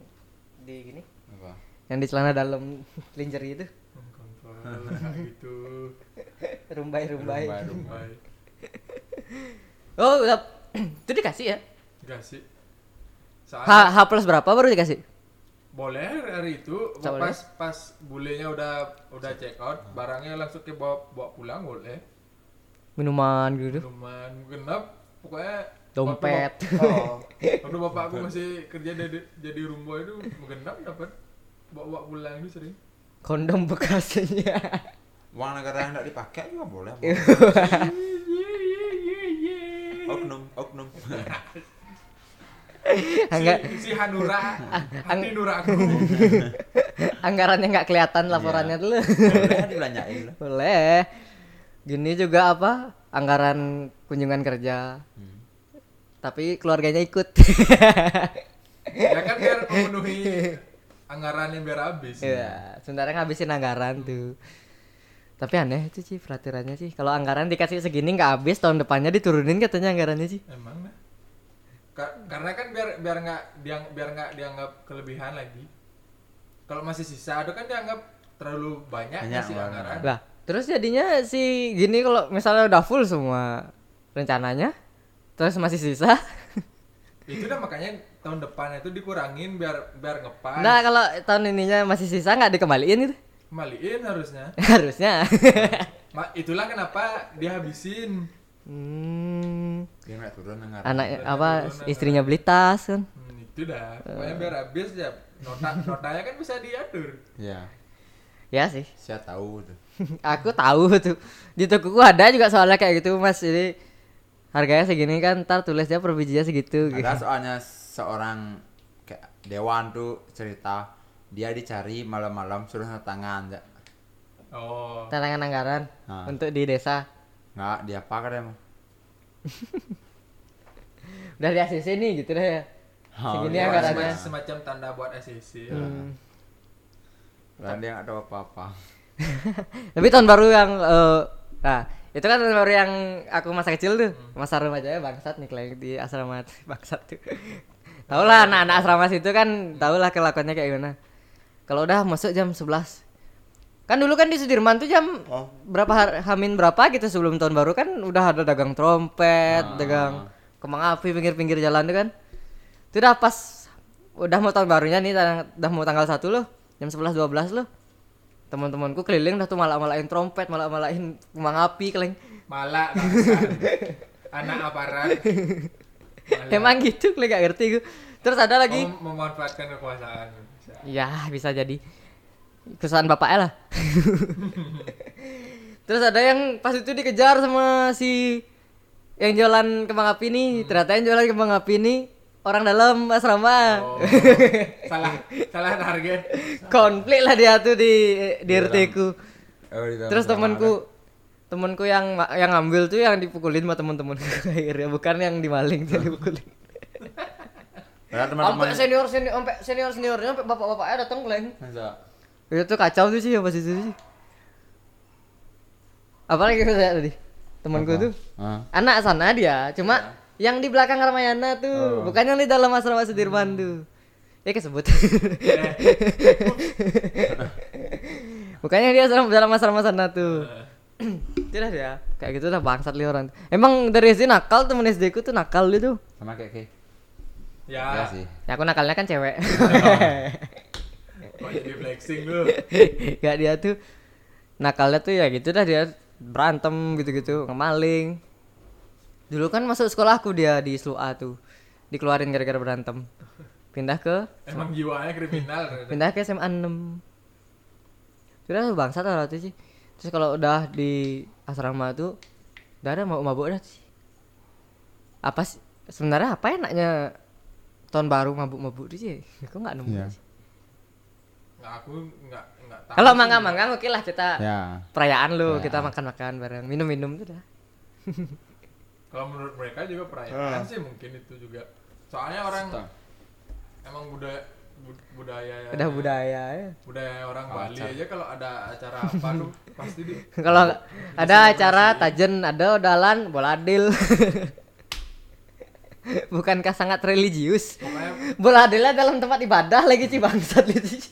S1: di gini?
S2: Apa?
S1: Yang di celana dalam lingerie itu.
S3: Kontrol, kayak gitu
S1: Rumbai-rumbai.
S2: Rumbai, rumbai.
S3: Baik.
S1: Oh, udah. itu dikasih ya?
S3: Enggak sih. Soalnya
S1: H, H plus berapa baru dikasih?
S3: boleh hari itu
S1: Coba
S3: pas pas bulenya udah udah check out, barangnya langsung ke bawa, bawa pulang boleh.
S1: Minuman gitu.
S3: Cuman genap pokoknya
S1: Dompet.
S3: waktu bap- oh, waktu bapakku masih kerja jadi jadi rumbo itu genap dapat bawa, bawa pulang itu sering.
S1: Kondom bekasnya.
S2: Uang negara yang tidak dipakai juga boleh.
S1: Iya.
S2: Bang. Oknum, oknum.
S1: Angga,
S3: Si, si Hanura, hati nuraku.
S1: anggarannya nggak kelihatan laporannya dulu.
S2: Boleh dibelanjain loh.
S1: Boleh. Gini juga apa? Anggaran kunjungan kerja.
S2: Hmm.
S1: Tapi keluarganya ikut.
S3: ya kan biar memenuhi anggaran yang biar habis.
S1: Iya, sebenarnya ngabisin anggaran tuh. Tapi aneh itu sih peraturannya sih. Kalau anggaran dikasih segini nggak habis, tahun depannya diturunin katanya anggarannya sih.
S3: Emang lah. Ka- karena kan biar biar nggak diang biar nggak dianggap kelebihan lagi. Kalau masih sisa itu kan dianggap terlalu banyak
S2: Banyak
S3: sih
S2: banget.
S3: anggaran.
S1: Lah, terus jadinya si gini kalau misalnya udah full semua rencananya, terus masih sisa.
S3: Itu udah makanya tahun depan itu dikurangin biar biar ngepas.
S1: Nah, kalau tahun ininya masih sisa nggak dikembaliin gitu.
S3: kembaliin harusnya
S1: harusnya
S3: Ma- itulah kenapa dihabisin
S1: hmm,
S2: Dia nggak turun dengar.
S1: anak apa istrinya beli tas kan
S3: hmm, itu dah pokoknya biar habis ya nota notanya kan bisa diatur
S2: Ya,
S1: ya sih
S2: saya tahu tuh.
S1: aku tahu tuh di tokoku ada juga soalnya kayak gitu mas jadi harganya segini kan ntar tulisnya per bijinya segitu
S2: Ada
S1: gitu.
S2: soalnya seorang kayak dewan tuh cerita dia dicari malam-malam suruh tangan ya.
S3: oh
S1: tantangan anggaran
S2: Ah.
S1: untuk di desa
S2: Nggak, dia apa kan emang?
S1: udah di ACC nih gitu deh ya
S2: Oh,
S1: segini
S2: iya,
S3: Semacam-
S1: anggarannya
S3: semacam tanda buat SEC
S1: Hmm.
S2: Dan dia nggak tahu apa-apa.
S1: tapi tahun baru yang eh, nah itu kan tahun baru yang aku masa kecil tuh
S2: Hmm.
S1: masa remajanya bangsat nih kalau yang di asrama tuh, bangsat tuh tau lah anak-anak asrama situ kan tau lah kelakuannya kayak gimana kalau udah masuk jam 11 kan dulu kan di Sudirman tuh jam
S2: Oh.
S1: berapa har- hamin berapa gitu sebelum tahun baru kan udah ada dagang trompet
S2: Ah.
S1: dagang kembang api pinggir-pinggir jalan tuh kan itu udah pas udah mau tahun barunya nih tang- udah mau tanggal 1 loh jam 11 12 loh teman-temanku keliling dah tuh malah-malahin trompet malah-malahin kembang api keleng
S3: malah bangsa. anak aparat Malah.
S1: emang gitu keleng gak ngerti gue terus ada lagi
S3: Mem- memanfaatkan kekuasaan bisa.
S1: Ya bisa jadi kesalahan bapaknya lah. Terus ada yang pas itu dikejar sama si yang jualan kembang api nih. Ternyata yang jualan kembang api nih orang dalam asrama.
S3: Oh, salah salah target
S1: Konflik lah dia tuh di di
S2: Dalam.
S1: RT ku.
S2: Oh, di dalam
S1: Terus
S2: kamar
S1: temanku temanku yang ma- yang ngambil tuh yang dipukulin sama temen-temen akhirnya bukan yang dimaling jadi dipukulin.
S2: ada. Padahal teman-teman.
S1: Sampai senior senior sampai senior seniornya sampai bapak-bapaknya datang keleng.
S2: Masa?
S1: Itu tuh kacau tuh sih ya pas itu sih. Apalagi kata saya tadi temanku
S2: Apa? Iya.
S1: tuh
S2: Hah?
S1: anak sana dia, cuma yang di belakang Ramayana tuh,
S2: Oh.
S1: bukan yang di dalam asrama
S2: Hmm.
S1: Sudirman tuh. Ya kesebut. Bukannya dia asrama dalam asrama sana tuh.
S2: Eh.
S1: Tidak ya, kayak gitu udah bangsat li orang. Emang dari SD nakal temen SD ku tuh nakal dia tuh.
S2: Sama kayak kayak. Ya
S3: ya
S2: sih.
S1: Ya aku nakalnya kan cewek.
S3: kok jadi flexing lu
S1: Gak dia tuh nakalnya tuh ya gitu dah dia berantem gitu-gitu ngemaling. Dulu kan masuk sekolahku dia di SLUA tuh. Dikeluarin gara-gara berantem. Pindah ke
S3: emang jiwanya kriminal ternyata.
S1: pindah ke SMA 6. Sudah tuh bangsa tuh waktu itu sih. Terus kalau udah di asrama tuh udah ada mau mabuk dah sih. Apa sih sebenarnya apa enaknya tahun baru mabuk-mabuk tuh sih? Aku nggak nemu.
S2: Iya.
S1: sih.
S3: nggak aku nggak nggak tahu
S1: Kalau
S3: sih.
S1: mangga-mangga oke lah kita
S2: Ya.
S1: perayaan lu
S2: Perayaan.
S1: kita makan-makan bareng minum-minum tuh dah
S3: kalau menurut mereka juga perayaan sih mungkin itu juga soalnya orang emang budaya bud- budaya
S1: udah budaya ya.
S3: budaya orang Bali
S2: Culture.
S3: aja kalau ada acara apa lu pasti di
S1: kalau ada acara tajen ada odalan boladil bukankah sangat religius
S3: pokoknya
S1: boladilnya dalam tempat ibadah lagi sih bangsat itu sih.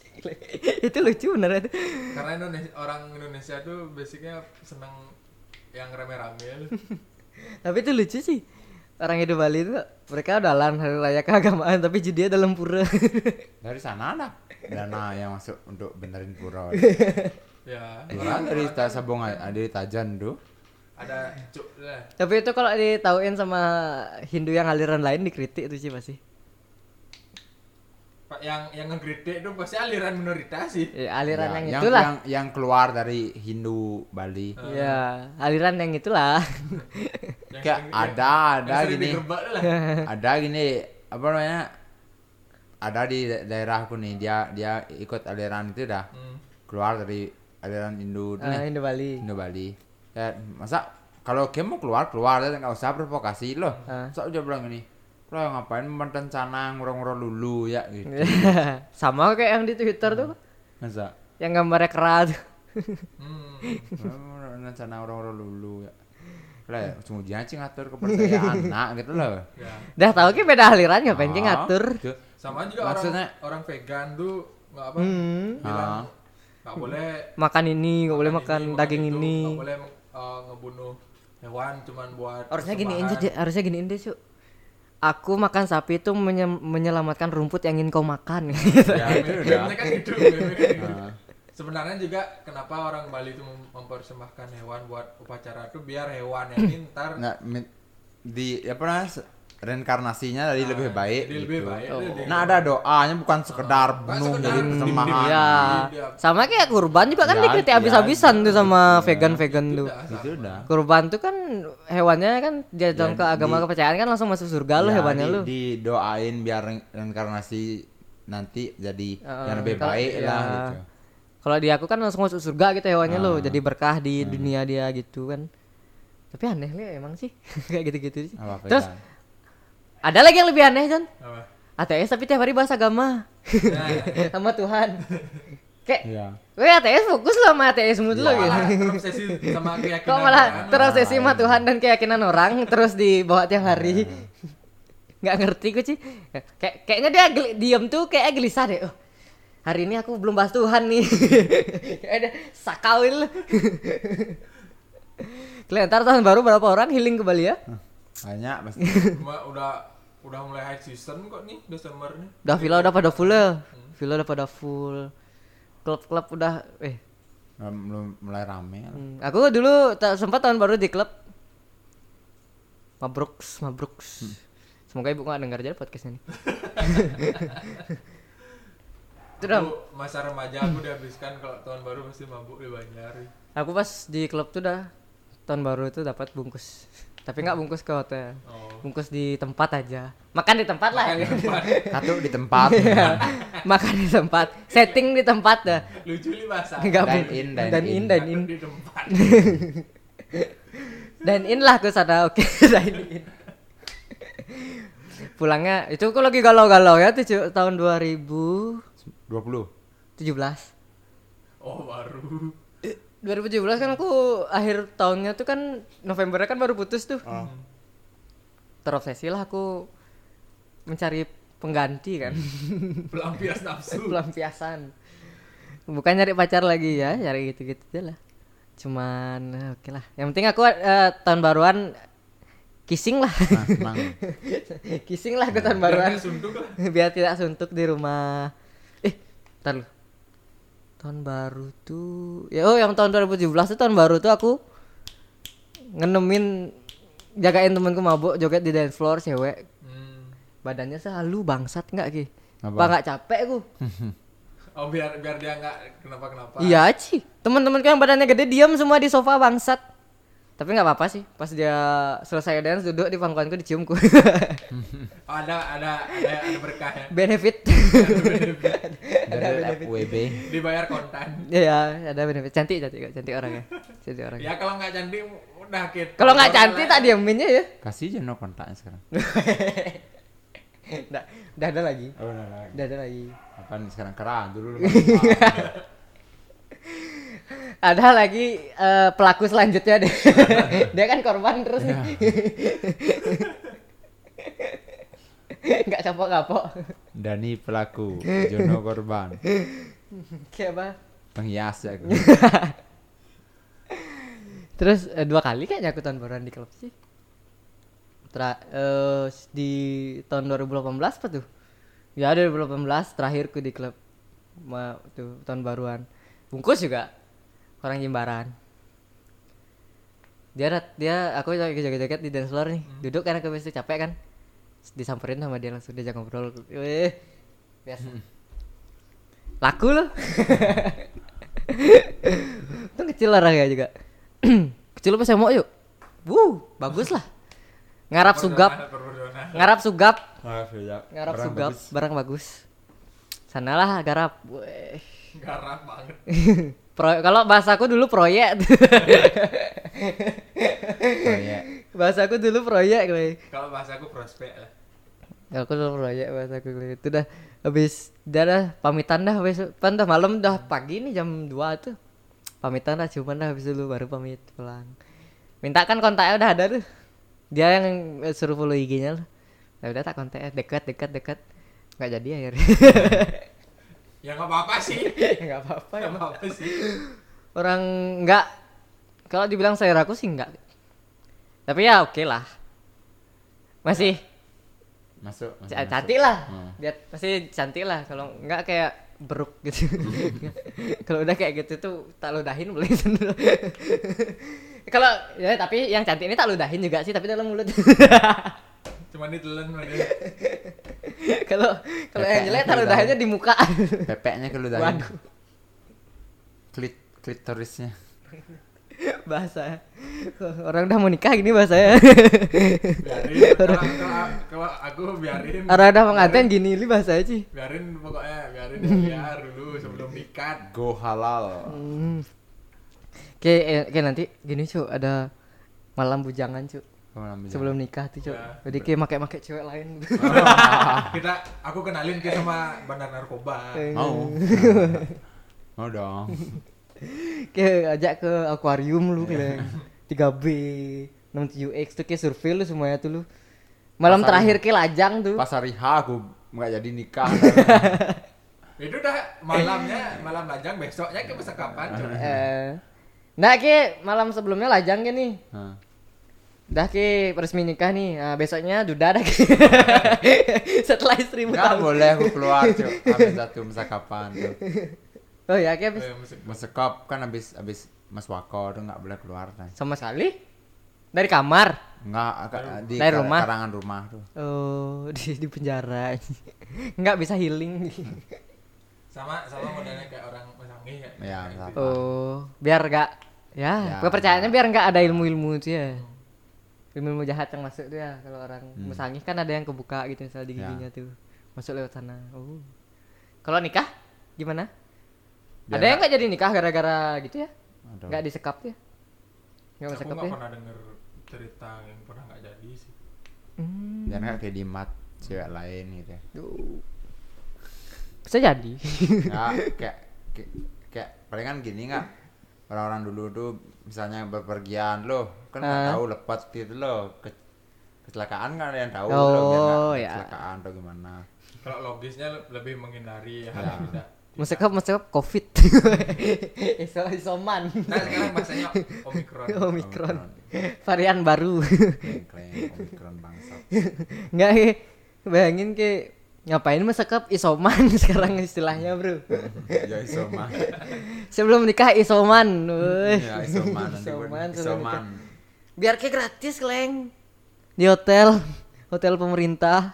S1: itu lucu bener itu
S3: karena Indonesia, orang Indonesia tuh basicnya seneng yang rame-rame
S1: tapi itu lucu sih orang hidup Bali itu mereka odalan hari raya keagamaan tapi judia dalam pura
S2: Dari sana lah. Dana yang masuk untuk benerin pura. Iya,
S3: ya
S2: Orang dari Ta- Sabong aja, dari Tajan tuh.
S3: ada cuk lah
S1: tapi itu kalau ditauin sama Hindu yang aliran lain dikritik itu sih pasti
S3: Pak, yang yang ngegredek tuh pasti aliran minoritas sih
S1: Ya, aliran
S2: Ya,
S1: yang, itulah
S2: Yang, yang keluar dari Hindu Bali.
S1: Ya, aliran yang itulah.
S3: Yang
S2: Kayak
S3: sering-
S2: ada,
S3: yang
S2: ada
S3: sering
S2: gini.
S3: digerebek lah
S2: ada gini apa namanya ada di da- daerahku nih dia dia ikut aliran itu dah
S3: Hmm.
S2: keluar dari aliran Hindu itu
S1: Ah,
S2: nih,
S1: Indo Bali.
S2: Hindu Bali ya, masa kalau kamu mau keluar keluar dan nggak usah provokasi loh
S1: Ah.
S2: so dia bilang gini lo ngapain mantan canang ngurung-ngurung lulu ya gitu
S1: Iya. Sama kayak yang di Twitter tuh,
S2: masa
S1: yang gambarnya kera tuh.
S3: Hmm.
S2: mantan canang ngurung-ngurung lulu ya lah ya, semuanya sih ngatur kepercayaan anak gitu loh
S3: ya
S1: Dah tahu ki beda aliran ngapain sih
S2: Ah,
S1: ngatur.
S2: gitu.
S3: sama juga
S2: Maksudnya-
S3: orang orang vegan tuh nggak apa
S1: Hmm.
S3: bilang
S2: Ah.
S3: nggak boleh
S1: Makan ini nggak boleh makan
S3: ini,
S1: daging
S3: itu,
S1: ini.
S3: nggak boleh eh, ngebunuh hewan cuman buat
S1: Harusnya gini
S3: persembahan.
S1: aja, deh, harusnya gini aja, Cuk. Aku makan sapi itu menye- menyelamatkan rumput yang ingin kau makan.
S2: ya itu udah Ah.
S3: Meme kan gitu, meme kan gitu. sebenarnya juga kenapa orang Bali itu mem- mempersembahkan hewan buat upacara tuh biar hewan ini ntar
S2: nggak mi- di apa namanya se- reinkarnasinya jadi
S3: Nah,
S2: lebih baik
S3: jadi lebih
S2: gitu.
S3: baik,
S1: Oh.
S3: jadi
S2: nah ada
S3: lebih baik.
S2: doanya bukan sekedar
S3: Bukan
S2: bunuh
S3: sekedar
S2: jadi
S3: bunuh.
S2: persembahan
S1: Iya.
S3: Iya.
S1: Sama kayak kurban juga kan
S2: Iya,
S1: dikit
S2: iya, gitu
S1: habis-habisan tuh sama vegan-vegan
S3: Itu
S1: tuh.
S3: dah,
S2: itu
S3: sama.
S2: udah
S1: Kurban tuh kan hewannya kan dia dalam
S2: Ya,
S1: ke agama
S2: di-
S1: kepercayaan kan langsung masuk surga lu
S2: Ya,
S1: hewannya
S2: di-
S1: lu.
S2: didoain biar re- reinkarnasi nanti jadi
S1: Heeh,
S2: yang
S1: Eh,
S2: lebih
S1: kalau-
S2: baik
S1: iya.
S2: lah gitu Ah.
S1: Kalau di aku kan langsung masuk surga gitu hewannya lu, jadi berkah di
S2: Hmm.
S1: dunia dia gitu kan. Tapi aneh li emang sih kayak gitu-gitu sih.
S2: Apa apa
S1: Terus
S2: ya?
S1: ada lagi yang lebih aneh Jon.
S3: Apa?
S1: ATS tapi tiap hari bahas agama
S3: Nah,
S1: sama Tuhan. Kayak,
S2: Iya.
S1: weh ATS fokus lo sama ATS mu dulu
S3: malah
S1: gitu.
S3: terobsesi sama keyakinan kan?
S1: Kok malah
S3: orang.
S1: terobsesi sama Tuhan dan keyakinan orang terus dibawa tiap hari. Nggak ngerti gue sih. Kayak kayaknya dia gel- diem tuh kayak gelisah deh. Oh, hari ini aku belum bahas Tuhan nih. Ada sakawil. Kelentar tahun baru berapa orang healing ke Bali ya?
S2: banyak pasti
S3: Cuma udah udah mulai high season kok nih Desember nih.
S1: Udah villa udah pada full ya. Villa udah pada full. Klub-klub udah eh
S2: belum belum mulai rame lah.
S1: Hmm, aku dulu ta- sempat tahun baru di klub. Mabruks, mabruks. Semoga ibu nggak dengar jadi podcastnya nih. Itu dah.
S3: Aku masa remaja aku dihabiskan kalau tahun baru pasti mabuk di Banjar.
S1: Aku pas di klub tuh dah tahun baru tuh dapat bungkus. Tapi nggak bungkus ke hotel.
S3: Oh.
S1: Bungkus di tempat aja. Makan di tempat lah.
S3: Makan di tempat.
S2: satu di tempat
S1: Iya.
S2: Nah,
S1: Makan di tempat. Setting di tempat dah.
S3: Lucu nih bahasa.
S1: Nggak
S2: Dine
S1: bu-
S2: in, dine
S1: dine in,
S2: in.
S1: dine in.
S3: Aku di tempat.
S1: Dan in lah aku sana oke dan in. Pulangnya itu aku lagi galau-galau ya tujuh, tahun 2017.
S2: dua puluh
S1: 2017
S3: Oh baru.
S1: kan aku akhir tahunnya tuh kan Novembernya kan baru putus tuh.
S3: Ah. Hmm.
S1: Terobsesi lah aku mencari pengganti kan.
S3: Pelampias nafsu.
S1: Pelampiasan. Bukan nyari pacar lagi ya, nyari gitu-gitu aja lah. Cuman eh, oke lah. Yang penting aku eh, tahun baruan kissing lah.
S2: nah, emang
S1: kissing lah aku tahun
S3: Biar
S1: baruan.
S3: nggak Sunduk lah.
S1: biar tidak suntuk di rumah eh ntar lu tahun baru tuh ya oh yang tahun 2017 tuh tahun baru tuh aku ngenemin jagain temanku mabuk joget di dance floor cewek
S3: Hmm.
S1: badannya selalu bangsat nggak ki
S2: Apa?
S1: apa nggak capek aku
S3: Oh biar biar dia nggak kenapa kenapa.
S1: iya ci teman-temanku yang badannya gede diam semua di sofa bangsat tapi nggak apa-apa sih pas dia selesai dance duduk di pangkuanku diciumku
S3: Ada ada ada, ada berkah ya.
S1: benefit
S2: dari FWB
S3: Dibayar kontan.
S1: ya, ya ada benefit cantik cantik kok cantik orangnya cantik orangnya
S3: Ya kalau nggak cantik udah gitu.
S1: Iya. Kalau nggak cantik tak diaminnya ya.
S2: kasih aja no kontaknya sekarang
S1: Nggak, udah ada lagi.
S2: oh, nah, nah.
S1: Udah ada lagi.
S2: apa nih sekarang kerang dulu
S1: Ada lagi eh, pelaku selanjutnya deh. Dia kan korban terus nih. Nggak kapok-kapok.
S2: Dani pelaku Jono korban
S1: Kayak apa?
S2: penghias ya aku.
S1: Terus eh, dua kali kayaknya aku tahun baruan di klub sih. Tera- eh, di tahun 2018 apa tuh? Ya 2018 terakhirku di klub. Ma, tuh tahun baruan. Bungkus juga orang Jimbaran. Dia dat- dia aku lagi joget-joget di dance floor nih. Duduk karena aku biasa capek kan. Terus Disamperin sama dia langsung diajak ngobrol. Wih. Biasa. Laku loh. Itu kecil orangnya juga. kecil apa mau yuk? Wuh, bagus lah. Ngarap sugap, ngarap sugap, ngarap sugap, barang bagus. Sanalah garap. Weh.
S3: Garap banget.
S1: Pro- kalau bahasaku dulu proyek.
S2: Oh, iya.
S1: bahasaku dulu proyek, weh.
S3: Kalau bahasa aku prospek lah.
S1: Ya, aku dulu proyek bahasa aku itu dah habis dah dah pamitan dah besok pan dah malam dah pagi nih jam 2 tuh pamitan dah cuman dah habis dulu baru pamit pulang minta kan kontaknya udah ada tuh dia yang eh, suruh follow IG-nya lah ya udah tak kontak dekat dekat dekat nggak jadi akhirnya
S3: Ya nggak apa-apa sih.
S1: nggak apa-apa
S3: Nggak
S1: ya
S3: apa-apa sih.
S1: orang nggak kalau dibilang selera aku sih nggak tapi ya oke lah masih
S2: masuk, masuk
S1: Ca- cantik lah
S2: Hmm.
S1: dia pasti cantik lah kalau nggak kayak beruk gitu kalau udah kayak gitu tuh tak ludahin boleh sendiri kalau ya tapi yang cantik ini tak ludahin juga sih tapi dalam mulut
S3: Cuman ditelan lagi.
S1: kalau kalau yang jelek tak ludahinnya di muka
S2: Pepeknya keludahin.
S1: waduh
S2: Klit klitorisnya.
S1: bahasa orang udah mau nikah gini bahasanya
S3: Biarin. Kalau- kalau- Kalau aku biarin.
S1: orang udah mau ngaten gini li bahasanya sih
S3: Biarin pokoknya biarin ya, biar dulu sebelum nikah.
S2: Go halal.
S1: Hmm. Kayak eh, kayak nanti gini cu ada malam bujangan cu sebelum nikah tuh cu
S3: Ya. Ah,
S1: jadi kayak make-make cewek lain
S3: Kita aku kenalin ke sama bandar narkoba.
S1: Eh.
S2: ya. Mau. Mau dong.
S1: kayak ajak ke akuarium
S2: Iya.
S1: lu kayak 3B 67X tuh kayak survei lu semuanya tuh lu malam
S2: Pasar.
S1: terakhir kayak lajang tuh
S2: Pas hari H aku nggak jadi nikah.
S3: Itu udah malamnya, malam lajang besoknya ke besok kapan? Cuk?
S1: eh nah kayak malam sebelumnya lajang kayak nih
S2: Hah.
S1: Dah ki resmi nikah nih. Nah, besoknya duda dah ki. Setelah istrimu
S2: Nggak
S1: tahu.
S2: boleh aku keluar cuy. Habis satu musakapan tuh.
S1: Oh ya ki habis
S3: Eh, musik.
S2: Musekop kan habis habis mas wako tuh nggak boleh keluar kan.
S1: sama sekali dari kamar.
S2: Nggak agak- di
S1: Dari
S2: kar-
S1: rumah?
S2: karangan rumah tuh.
S1: Oh, di, di penjara. Nggak bisa healing.
S3: Sama sama modelnya kayak orang Masangi ya.
S2: Ya,
S3: Kayak
S2: sama.
S3: gitu.
S1: Oh, biar nggak ya,
S2: Ya.
S1: kepercayaannya biar nggak ada ilmu-ilmu itu ya. Ilmu-ilmu jahat yang masuk tuh ya kalau orang
S2: Hmm.
S1: musangih kan ada yang kebuka gitu misalnya di
S2: Ya.
S1: giginya tuh. Masuk lewat sana. Oh. Kalau nikah gimana?
S2: Biar
S1: ada yang nggak jadi nikah gara-gara gitu ya?
S2: Aduh.
S1: Nggak disekap ya? Nggak
S3: Aku
S1: disekap
S3: nggak
S1: ya?
S3: pernah denger cerita yang pernah nggak jadi sih.
S1: Hmm.
S2: Jangan nggak kayak dimat cewek lain gitu.
S1: Duh. Bisa jadi.
S2: Nggak kayak kayak, kayak palingan gini nggak orang-orang dulu tuh misalnya berpergian loh kan nggak
S1: Hah?
S2: tahu lepas gitu loh ke, kecelakaan kan ada yang tahu
S1: Oh,
S2: loh biar nggak
S1: ya.
S2: kecelakaan atau gimana
S3: Kalau logisnya le- lebih menghindari ya, hal
S1: Nah.
S3: yang tidak.
S1: Maksudnya maksudnya covid. Iso isoman.
S3: Nah sekarang bahasanya Omikron.
S1: Omikron. Varian baru.
S2: kleng omikron bangsa
S1: Enggak eh. bayangin ke ngapain masekap isoman sekarang istilahnya, Bro.
S2: ya isoman
S1: Sebelum nikah isoman. weh.
S2: ya isoman nanti gua-
S1: Eh. Isoman, sebelum
S2: isoman
S1: nikah. Biar ke gratis, Leng. Di hotel, hotel pemerintah.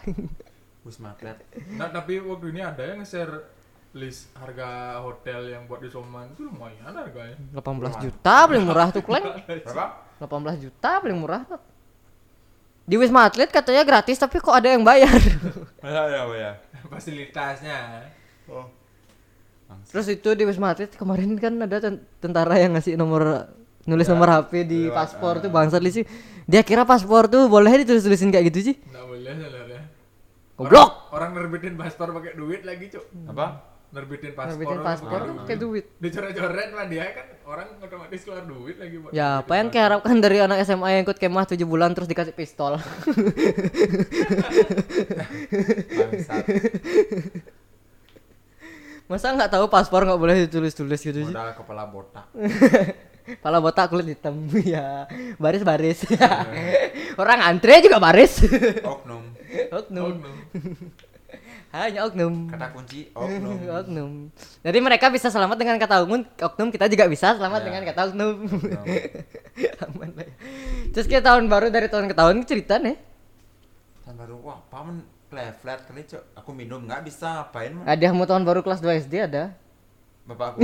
S2: bus maplet
S3: Nah tapi waktu ini ada yang share list harga hotel yang buat di Soman itu lumayan harganya.
S1: 18 juta paling murah tuh, Leng.
S2: berapa
S1: 18 juta paling murah tuh. Di Wisma Atlet katanya gratis tapi kok ada yang bayar.
S2: ya ya ya
S3: Fasilitasnya.
S1: Terus itu di Wisma Atlet kemarin kan ada ten- tentara yang ngasih nomor nulis nomor HP di
S2: lewat,
S1: paspor tuh bangsat li sih. Dia kira paspor tuh boleh ditulis-tulisin kayak gitu sih.
S3: Nggak boleh sebenarnya.
S1: Goblok.
S3: Orang nerbitin paspor pakai duit lagi cuk.
S2: apa
S3: Nerbitin paspor.
S1: Nerbitin
S3: orang
S1: paspor
S3: pakai
S1: tuh
S3: duit.
S1: kayak duit.
S3: Dicoret-coret lah dia kan orang otomatis keluar duit lagi buat.
S1: Ya, apa yang
S3: nerbitin
S1: keharapkan dari anak SMA yang ikut kemah 7 bulan terus dikasih pistol.
S2: bangsat
S1: Masa nggak tahu paspor nggak boleh ditulis-tulis gitu sih.
S2: modal kepala botak
S1: Kepala botak kulit hitam ya. Baris-baris. Orang antre juga baris.
S2: oknum
S3: paspor.
S1: Oknum.
S3: Oknum.
S1: Hanya oknum.
S2: kata kunci oknum
S1: oknum. Jadi mereka bisa selamat dengan kata oknum, oknum kita juga bisa selamat
S2: Ya.
S1: dengan kata oknum.
S2: Oknum.
S1: Aman lah. ya. Terus kayak tahun baru dari tahun ke tahun cerita nih.
S2: Tahun baru wah apa men flat flat kali cok. Aku minum nggak bisa ngapain men. Eh.
S1: Ada yang mau tahun baru kelas 2 SD ada.
S2: Bapak aku.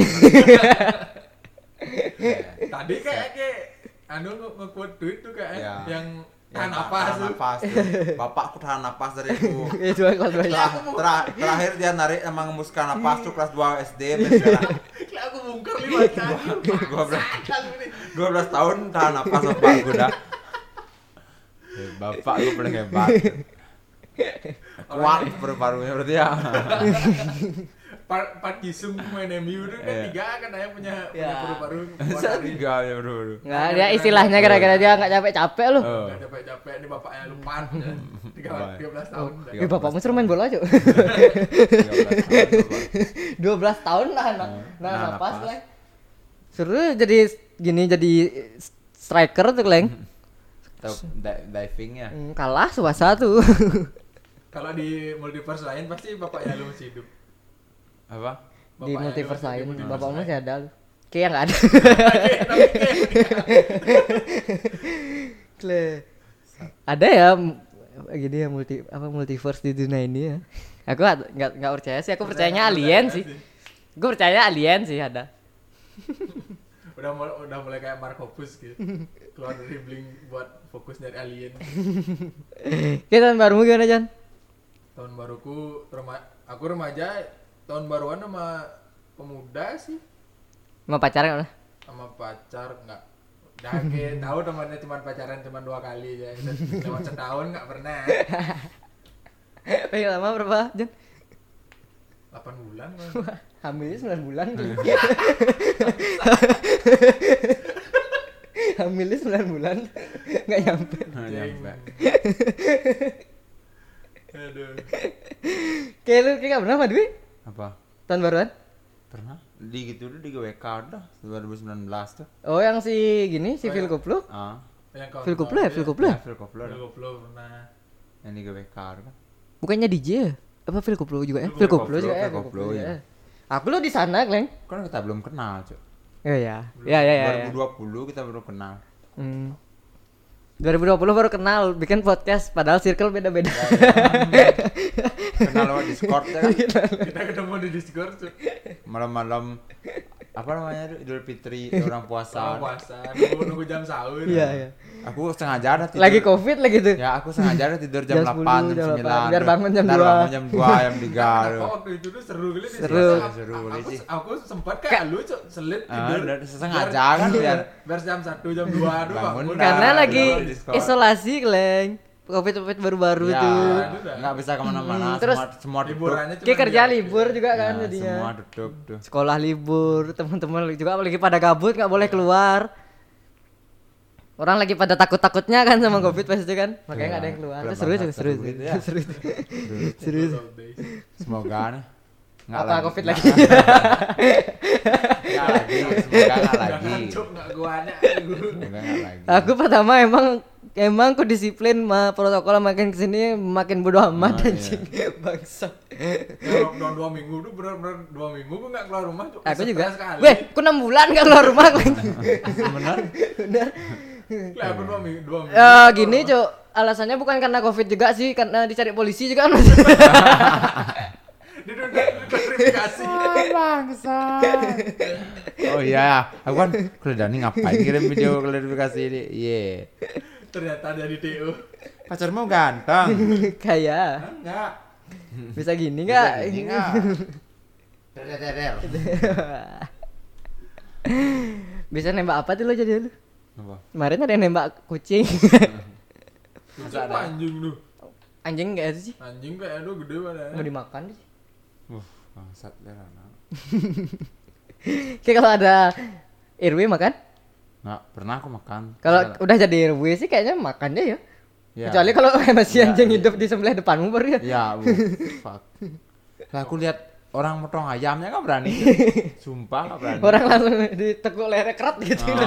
S3: Tadi
S1: Iya.
S3: kayak kayak anu nge- nge-quote duit tuh kayak
S2: Ya.
S3: yang
S2: Ya,
S1: Iya,
S3: tahan napas
S2: Tahan
S3: tuh.
S2: napas. tuh. Bapak aku tahan napas dari aku.
S1: Eh, dua kelas 2 SD.
S2: Terah- terah- terakhir dia narik emang ngembuskan napas tuh kelas 2 SD men, sekarang.
S3: Kayak aku bungkar lima
S1: Iya.
S3: kali.
S2: Gua ber-
S3: Kali ini.
S2: 12 tahun tahan napas bapak aku dah. Eh, Bapak gue paling hebat. Kuat paru-parunya berarti ya.
S3: Par Park Jisung main MU itu kan
S2: Iya.
S3: tiga kan ayah punya
S1: Ya.
S3: punya paru-paru
S2: Saya tiga ya bro.
S1: Enggak, dia istilahnya gara-gara dia nggak capek-capek loh.
S2: Oh.
S3: Gak capek-capek ini bapaknya lupaan ya. tiga
S2: Baik.
S3: tiga belas tahun. dah.
S2: iya,
S1: Eh, bapakmu suruh main bola aja.
S2: 13 tahun, Bapak.
S1: 12 tahun lah anak. Nah,
S2: Nah,
S1: napas
S2: napas.
S1: lah. Suruh jadi gini jadi striker tuh, Leng.
S2: Tahu di- diving ya.
S1: Hmm, Kalah suasa tuh.
S3: Kalau di multiverse lain pasti bapaknya lu masih hidup.
S1: di
S2: Apa?
S3: Bapaknya
S1: multiverse
S3: juga, di
S1: lain
S3: multiverse
S1: bapak
S3: lain.
S1: masih ada lu kayak nggak ada Kle. ada ya m- gini ya multi apa multiverse di dunia ini ya aku nggak nggak- nggak percaya sih aku percayanya alien sih gue percaya alien sih ada
S3: udah mulai udah mulai kayak Markopus gitu keluar dari bling buat fokus dari alien
S1: kita barumu gimana Jan
S3: tahun baruku rema aku remaja tahun baruan sama pemuda sih
S1: mau pacaran nggak?
S3: sama pacar nggak dah kayak tahu temannya cuma pacaran cuma dua kali ya lewat setahun nggak pernah
S1: Paling lama berapa Jan
S3: 8 bulan kan.
S1: hamilnya 9 bulan kali. hamilnya 9 bulan nggak nyampe
S2: Nah,
S3: Jeng.
S2: nyampe.
S3: aduh
S1: kayak lu kayak nggak pernah Pak Dwi
S2: Apa?
S1: tahun baruan
S2: Pernah? Di gitu dulu di GWK dah 2019 tuh.
S1: oh yang si gini si
S3: Oh,
S1: Phil
S3: iya.
S1: Koplo
S2: Ah.
S3: yang kawan
S1: Phil Koplo ya Phil Koplo ya?
S2: Phil Koplo dah.
S3: pernah
S2: Yang di GWK tuh kan.
S1: bukannya DJ ya? apa Phil Koplo juga ya
S2: Phil
S1: Phil Koplo
S2: Koplo,
S1: juga ya
S2: Phil
S1: Phil
S2: Koplo,
S1: Koplo
S2: iya.
S1: ya aku lu di sana Gleng
S2: Kan kita belum kenal, Cuk.
S1: ya ya ya ya ya, ya.
S2: 2020 kita baru kenal.
S1: Hmm. 2020 baru kenal bikin podcast padahal circle beda-beda
S2: Iya, Kenal lewat Discord ya
S1: Iya,
S2: kan.
S3: kita ketemu di Discord tuh
S2: Malam-malam apa namanya tuh Idul Fitri orang puasa.
S3: sama puasa nunggu, nunggu jam sahur
S1: iya iya
S2: Aku sengaja ada tidur.
S1: lagi covid lagi tuh
S2: Ya aku sengaja ada tidur jam,
S1: Jam 10,
S2: 8,
S1: jam
S2: jam 9
S1: 8, biar bangun jam
S2: Ntar
S1: 2.
S2: bangun jam 2, jam 3
S3: Kenapa waktu itu tuh seru kali
S1: Seru.
S2: Seru
S3: aku,
S2: kali
S3: aku,
S2: sih.
S3: aku sempat kayak lu cok selit
S2: Ah,
S3: tidur
S2: udah sengaja kan biar
S3: biar jam satu jam dua aduh
S2: Bangun
S3: bangun
S2: dah.
S1: Karena
S2: Nah,
S1: lagi
S2: kenapa di sekolah?
S1: isolasi, Leng. Covid-covid baru-baru
S2: ya,
S1: tuh.
S2: nggak bisa
S1: Hmm,
S2: kemana-mana
S1: terus
S2: semua, semua duduk
S3: liburannya
S1: Kayak
S3: cuma
S1: kerja
S3: dia.
S1: libur juga kan
S2: Nah,
S1: jadinya.
S2: semua duduk tuh
S1: Sekolah libur, teman-teman juga lagi pada gabut nggak boleh keluar. Orang lagi pada takut-takutnya kan sama Covid pasti kan. Makanya nggak ada yang keluar.
S2: Kelemahan
S1: Seru itu, seru itu.
S2: gitu ya.
S1: Seru itu. Seru itu.
S3: All day.
S2: semoga nih nggak
S1: Apa Covid lagi?
S2: nggak lagi semoga nggak lagi
S3: Jangan cok nggak gua ada
S2: semoga nggak lagi
S1: Aku pertama emang emang ku disiplin ma protokol makin kesini makin bodoh amat
S2: Ah, iya.
S1: anjing bangsa.
S3: Ya, lockdown dua minggu tuh bener-bener dua minggu gua nggak keluar rumah cok
S1: Aku juga.
S3: sekali
S1: Weh, ku 6 bulan nggak keluar rumah. Leng.
S2: bener
S3: Lah, aku dua minggu dua minggu
S1: Ya gini cok, alasannya bukan karena covid juga sih, karena dicari polisi juga kan.
S3: di dunia klarifikasi
S2: bangsa oh iya aku kan keledani ngapain kirim video klarifikasi ini iya
S3: ternyata dari TU
S2: pacarmu ganteng
S1: Kayak
S3: enggak
S1: bisa gini
S2: Bisa
S1: nggak?
S2: gini nggak? Der, der, der, der.
S1: bisa nembak apa tuh lo jadi lu?
S2: Apa?
S1: Kemarin ada yang nembak kucing.
S3: Kucing apa anjing lu
S1: Anjing nggak itu sih?
S3: anjing kayak aduh gede banget
S1: Mau dimakan sih.
S2: Wah, bangsat der anak.
S1: Kayak kalau ada Irwi makan?
S2: Nggak pernah aku makan.
S1: Kalau
S2: Nggak.
S1: udah jadi Irwi sih kayaknya makan deh ya.
S2: Ya.
S1: Kecuali kalau masih
S2: Ya,
S1: anjing
S2: ya.
S1: hidup di sebelah depanmu baru ya.
S2: Ya, bu, fuck. Lah aku lihat orang motong ayamnya nggak berani. Sumpah nggak berani.
S1: Orang langsung ditekuk lehernya kerat gitu.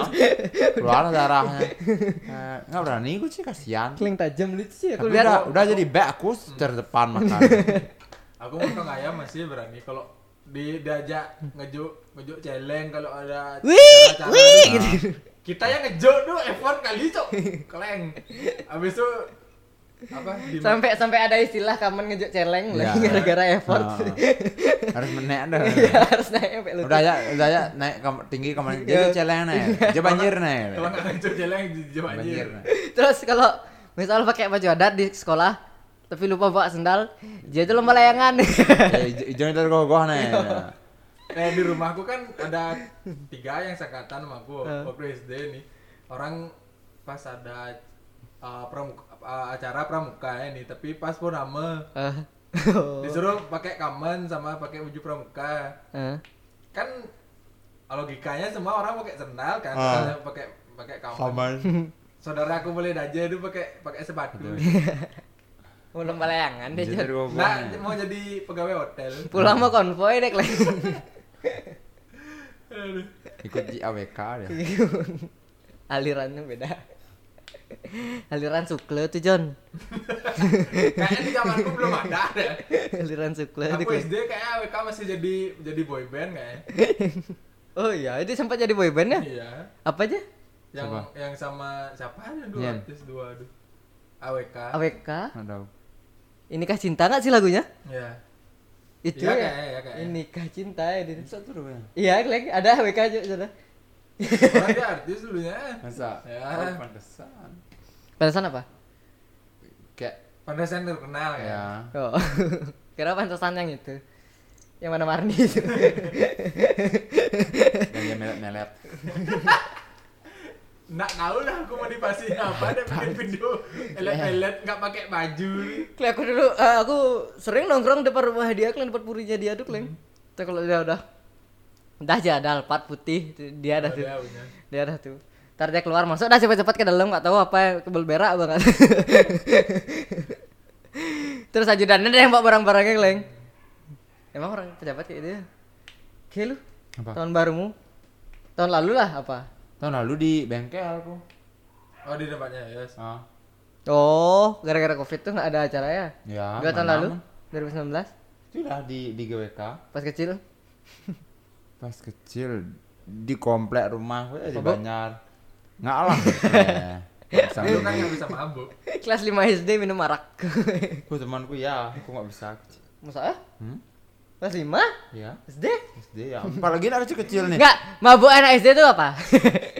S2: Ah, keluar darahnya. Eh, Nggak berani gue sih kasihan.
S1: Keling tajam lucu sih ya aku
S2: Tapi
S1: lihat.
S2: udah, udah jadi back aku terdepan makan.
S3: aku makan ayam masih berani kalau di diajak ngejuk ngejuk celeng kalau ada
S1: Wih,
S3: acara-acara
S1: wih,
S3: tuh,
S1: gitu.
S3: kita yang ngejuk tuh effort kali cok keleng abis itu apa di
S1: sampai sampai ada istilah kamen ngejuk celeng lagi
S2: Iya.
S1: gara-gara effort
S2: Ah, harus menek dah.
S1: harus naik sampai lutut
S2: Udah ya, udah ya naik kam- tinggi kemana?
S1: Iya.
S2: Jadi celeng naik, jadi banjir naik.
S3: Iya. kalau nggak ngejuk celeng jam
S2: Banjir
S3: anjir
S2: naik.
S1: terus kalau misal pakai baju adat di sekolah tapi lupa bawa sendal dia itu lomba layangan
S2: Iya, Hijau itu gogoh naik.
S3: Nah di rumahku kan ada tiga yang seangkatan sama aku
S1: Eh.
S3: waktu SD nih. Orang pas ada uh, pramuka- uh, acara pramuka ya nih, tapi pas purnama
S1: Eh.
S3: disuruh pakai kamen sama pakai baju pramuka.
S1: Eh.
S3: Kan ah, logikanya semua orang pakai sendal kan,
S2: Ah.
S3: sendalnya pakai pakai kamen.
S2: Kaman.
S3: Saudara aku boleh aja itu pakai pakai sepatu.
S1: mau lomba layangan dia Jod.
S2: Jadi gogoh.
S3: Nah,
S2: naik.
S3: mau jadi pegawai hotel.
S1: pulang mau konvoy deh Kleng.
S3: Aduh.
S2: Ikut di AWK dia.
S1: alirannya beda aliran sukle tuh John
S3: Kayaknya di zamanku belum ada deh.
S1: aliran sukle itu
S3: Aku
S1: keren.
S3: SD kayaknya AWK masih jadi jadi boy band kayaknya.
S1: oh iya itu sempat jadi boyband ya
S3: Iya.
S1: apa aja
S3: Yang
S2: Siapa?
S3: yang sama siapa ada dua
S2: Yan.
S3: artis dua aduh. AWK.
S1: AWK
S2: Nggak tahu.
S1: inikah cinta nggak sih lagunya
S3: Iya.
S1: itu
S3: Iya,
S1: ya
S3: kayaknya, iya, kayaknya.
S1: inikah cinta ya Din.
S2: Bisa tuh ya.
S1: iya lagi ada AWK aja sudah
S3: Orang dia artis dulunya.
S2: Masa?
S3: Ya.
S2: Oh, pantesan.
S1: pantesan apa
S2: Kayak
S3: Pandasan terkenal ya.
S2: ya.
S1: oh kira pantesan yang itu yang mana Marni itu
S2: Dan dia melet-melet.
S3: Nggak tahu lah aku motivasinya apa ada bikin video elet-elet nggak pakai baju.
S1: Kle, aku dulu eh, aku sering nongkrong depan rumah dia kleng depan purinya dia tuh kleng Tuh kalau dia udah udah aja ada alpat putih tuh, dia dah
S3: Oh,
S1: tuh
S3: dia punya.
S1: dia dah tuh ntar dia keluar masuk dah cepat-cepat ke dalam nggak tahu apa kebel berak banget terus ajudannya deh yang bawa barang-barangnya kleng emang orang pejabat kayak dia Oke lu
S2: Apa?
S1: tahun barumu tahun lalu lah apa
S2: Tahun lalu di bengkel aku.
S3: Oh di tempatnya yes.
S2: Ah.
S1: oh gara-gara covid tuh nggak ada acara ya
S2: Ya.
S1: dua tahun
S2: mana
S1: lalu
S2: aman.
S1: 2019
S2: Itulah di di GWK.
S1: pas kecil
S2: Pas kecil di komplek rumah aku aja di
S1: Mabuk?
S2: Banjar. Enggak lah. Eh, Ya. Sama
S3: Dulu kan nggak bisa mabuk.
S1: Kelas 5 SD minum arak.
S2: aku temanku ya, aku nggak bisa.
S1: Masa?
S2: Hmm?
S1: Kelas 5?
S2: Ya.
S1: SD?
S2: SD ya. Apalagi anak kecil nih.
S1: Enggak, mabuk anak SD itu apa?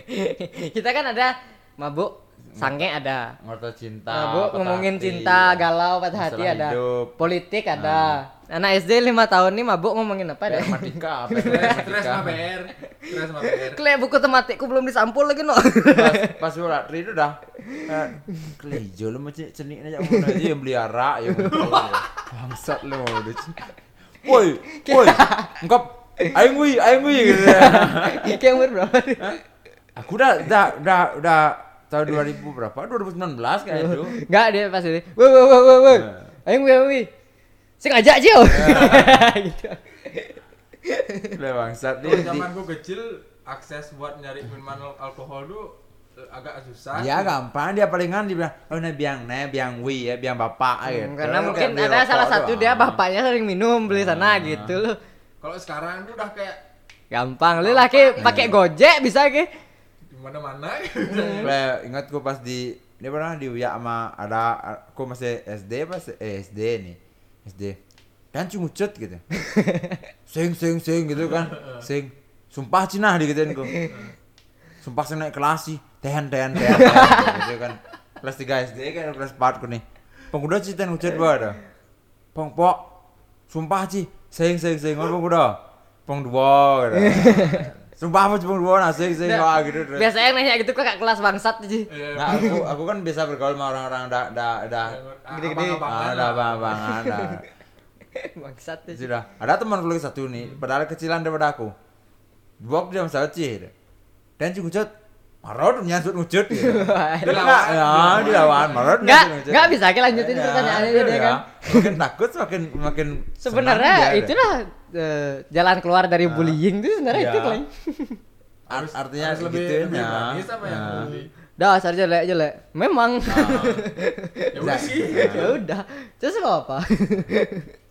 S1: Kita kan ada mabuk sange ada.
S2: Ngerti cinta.
S1: Mabuk
S2: patah
S1: ngomongin
S2: hati,
S1: cinta, galau, patah hati
S2: masalah
S1: ada.
S2: Hidup. Nah.
S1: Politik ada. Anak SD 5 tahun nih mabuk ngomongin apa deh?
S2: Permatika, apa ya, yang
S3: Stres
S2: permatika?
S3: stres sama PR. Stres sama PR.
S1: Kle buku tematikku belum disampul lagi no.
S2: pas pas gue latri itu dah eh, kelijo lu macam cenik aja Iya, aku aja yang beliara yang iya. bangsat lu udah c- woi woi ngkap aing wi aing wi gitu
S1: Kayak umur berapa? nih?
S2: aku udah udah udah udah tahun 2000 berapa 2019 kayak itu
S1: Enggak dia pas ini. Woi woi woi woi, woi.
S2: Nah.
S1: Ayo gue wi. Sing ajak Cio. Gitu.
S2: udah bangsat
S3: Dulu
S2: nih di,
S3: zaman gue kecil akses buat nyari minuman al- alkohol tuh eh, agak susah.
S2: dia Iya, gampang dia palingan dia bilang oh nah biang ne biang wi ya biang bapak gitu
S1: Hmm, karena
S2: Lu
S1: mungkin
S2: kayak beli
S1: ada
S2: rokok
S1: salah satu
S2: doang. Nah.
S1: dia bapaknya sering minum beli sana gitu loh.
S3: Kalau sekarang tuh udah kayak
S1: Gampang lu
S2: Nah.
S1: laki pakai Gojek bisa ke.
S3: di mana-mana.
S2: Lah, ingat gue pas di dia pernah di Uya sama ada aku masih SD pas eh, SD nih. SD. Dan cungucut gitu. sing sing sing gitu kan. Sing. Sumpah Cina digituin gue. Sumpah saya naik kelas sih. Tehen tehen tehen. tehen, gitu kan. Kelas 3 SD kan kelas 4 ku nih. Pengguna cita ngucut bae dah. Pong pok. Sumpah sih. Sing sing sing ngono pengguna. Pong dua gitu. Sumpah apa pong dua nah sing sing wah gitu. terus.
S1: Biasanya yang nanya gitu ke kakak kelas bangsat sih.
S3: Iya.
S2: Nah, aku aku kan biasa bergaul sama orang-orang dah dah dah
S1: Gede-gede.
S2: ah, dah
S3: Abang-abangan lah.
S2: bang bang ada.
S1: bangsat sih.
S2: Sudah. Ada teman aku lagi satu nih,
S1: Hmm.
S2: padahal kecilan daripada aku. Dua dia sama cih. Dan si ngucut. Marot nyasut ngucut gitu. Dia enggak, ya, dilawan. Marot Ya,
S1: Enggak, enggak bisa ke lanjutin pertanyaannya dia kan.
S2: Makin takut makin makin senang
S1: Sebenarnya
S2: dia, Nah.
S1: itulah eh, jalan keluar dari bullying tuh sebenarnya itu
S2: Iya.
S1: kan.
S2: Ar- artinya
S3: harus lebih
S2: segituin
S3: lebih
S2: ya.
S3: manis apa yang
S2: Nah.
S3: lebih
S1: Dasar jelek jelek. Memang.
S3: ya udah sih
S1: ya udah. Terus mau apa?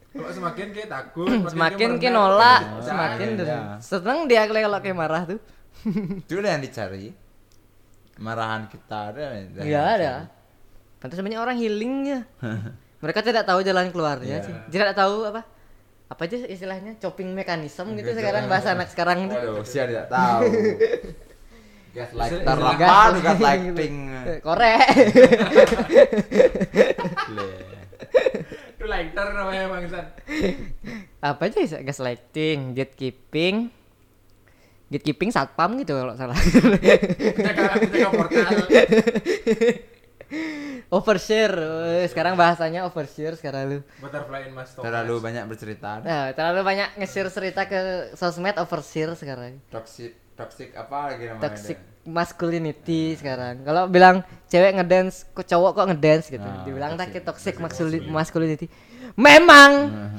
S3: kalau semakin kayak takut
S1: semakin
S3: kayak
S1: ke
S3: merendah. Nah.
S1: nolak,
S2: Iya.
S1: semakin Iya,
S2: Iya.
S1: dendam. seneng dia kalau kalau kayak marah tuh.
S2: Itulah yang dicari. Marahan kita ada. yang
S1: Iya
S2: dicari.
S1: ada. Pantas sebenarnya orang healingnya. Mereka tidak tahu jalan keluarnya sih. Tidak tahu apa apa aja istilahnya chopping mekanisme gitu
S2: Gitu,
S1: sekarang
S2: kan.
S1: bahasa anak sekarang itu.
S2: Waduh, saya tidak tahu. Gaslighter
S3: Istilah-
S2: apa? Aduh, Gaslighting.
S1: Iya. Korek.
S3: itu lighter namanya bangsan
S1: apa aja sih gaslighting, gatekeeping. Gatekeeping satpam gitu kalau salah.
S3: jaga jaga portal
S1: overshare. eh, Sekarang bahasanya overshare sekarang lu.
S3: butterfly in my stomach
S2: Terlalu banyak bercerita.
S1: Nah, terlalu banyak nge-share cerita ke sosmed overshare sekarang.
S2: Toxic, toxic apa lagi namanya?
S1: toxic masculinity sekarang. Kalau bilang cewek ngedance, kok cowok kok ngedance gitu.
S2: Nah,
S1: Dibilang tak
S2: toxic- Nah.
S1: toxic, masculi- masculinity. Memang.
S2: Hmm.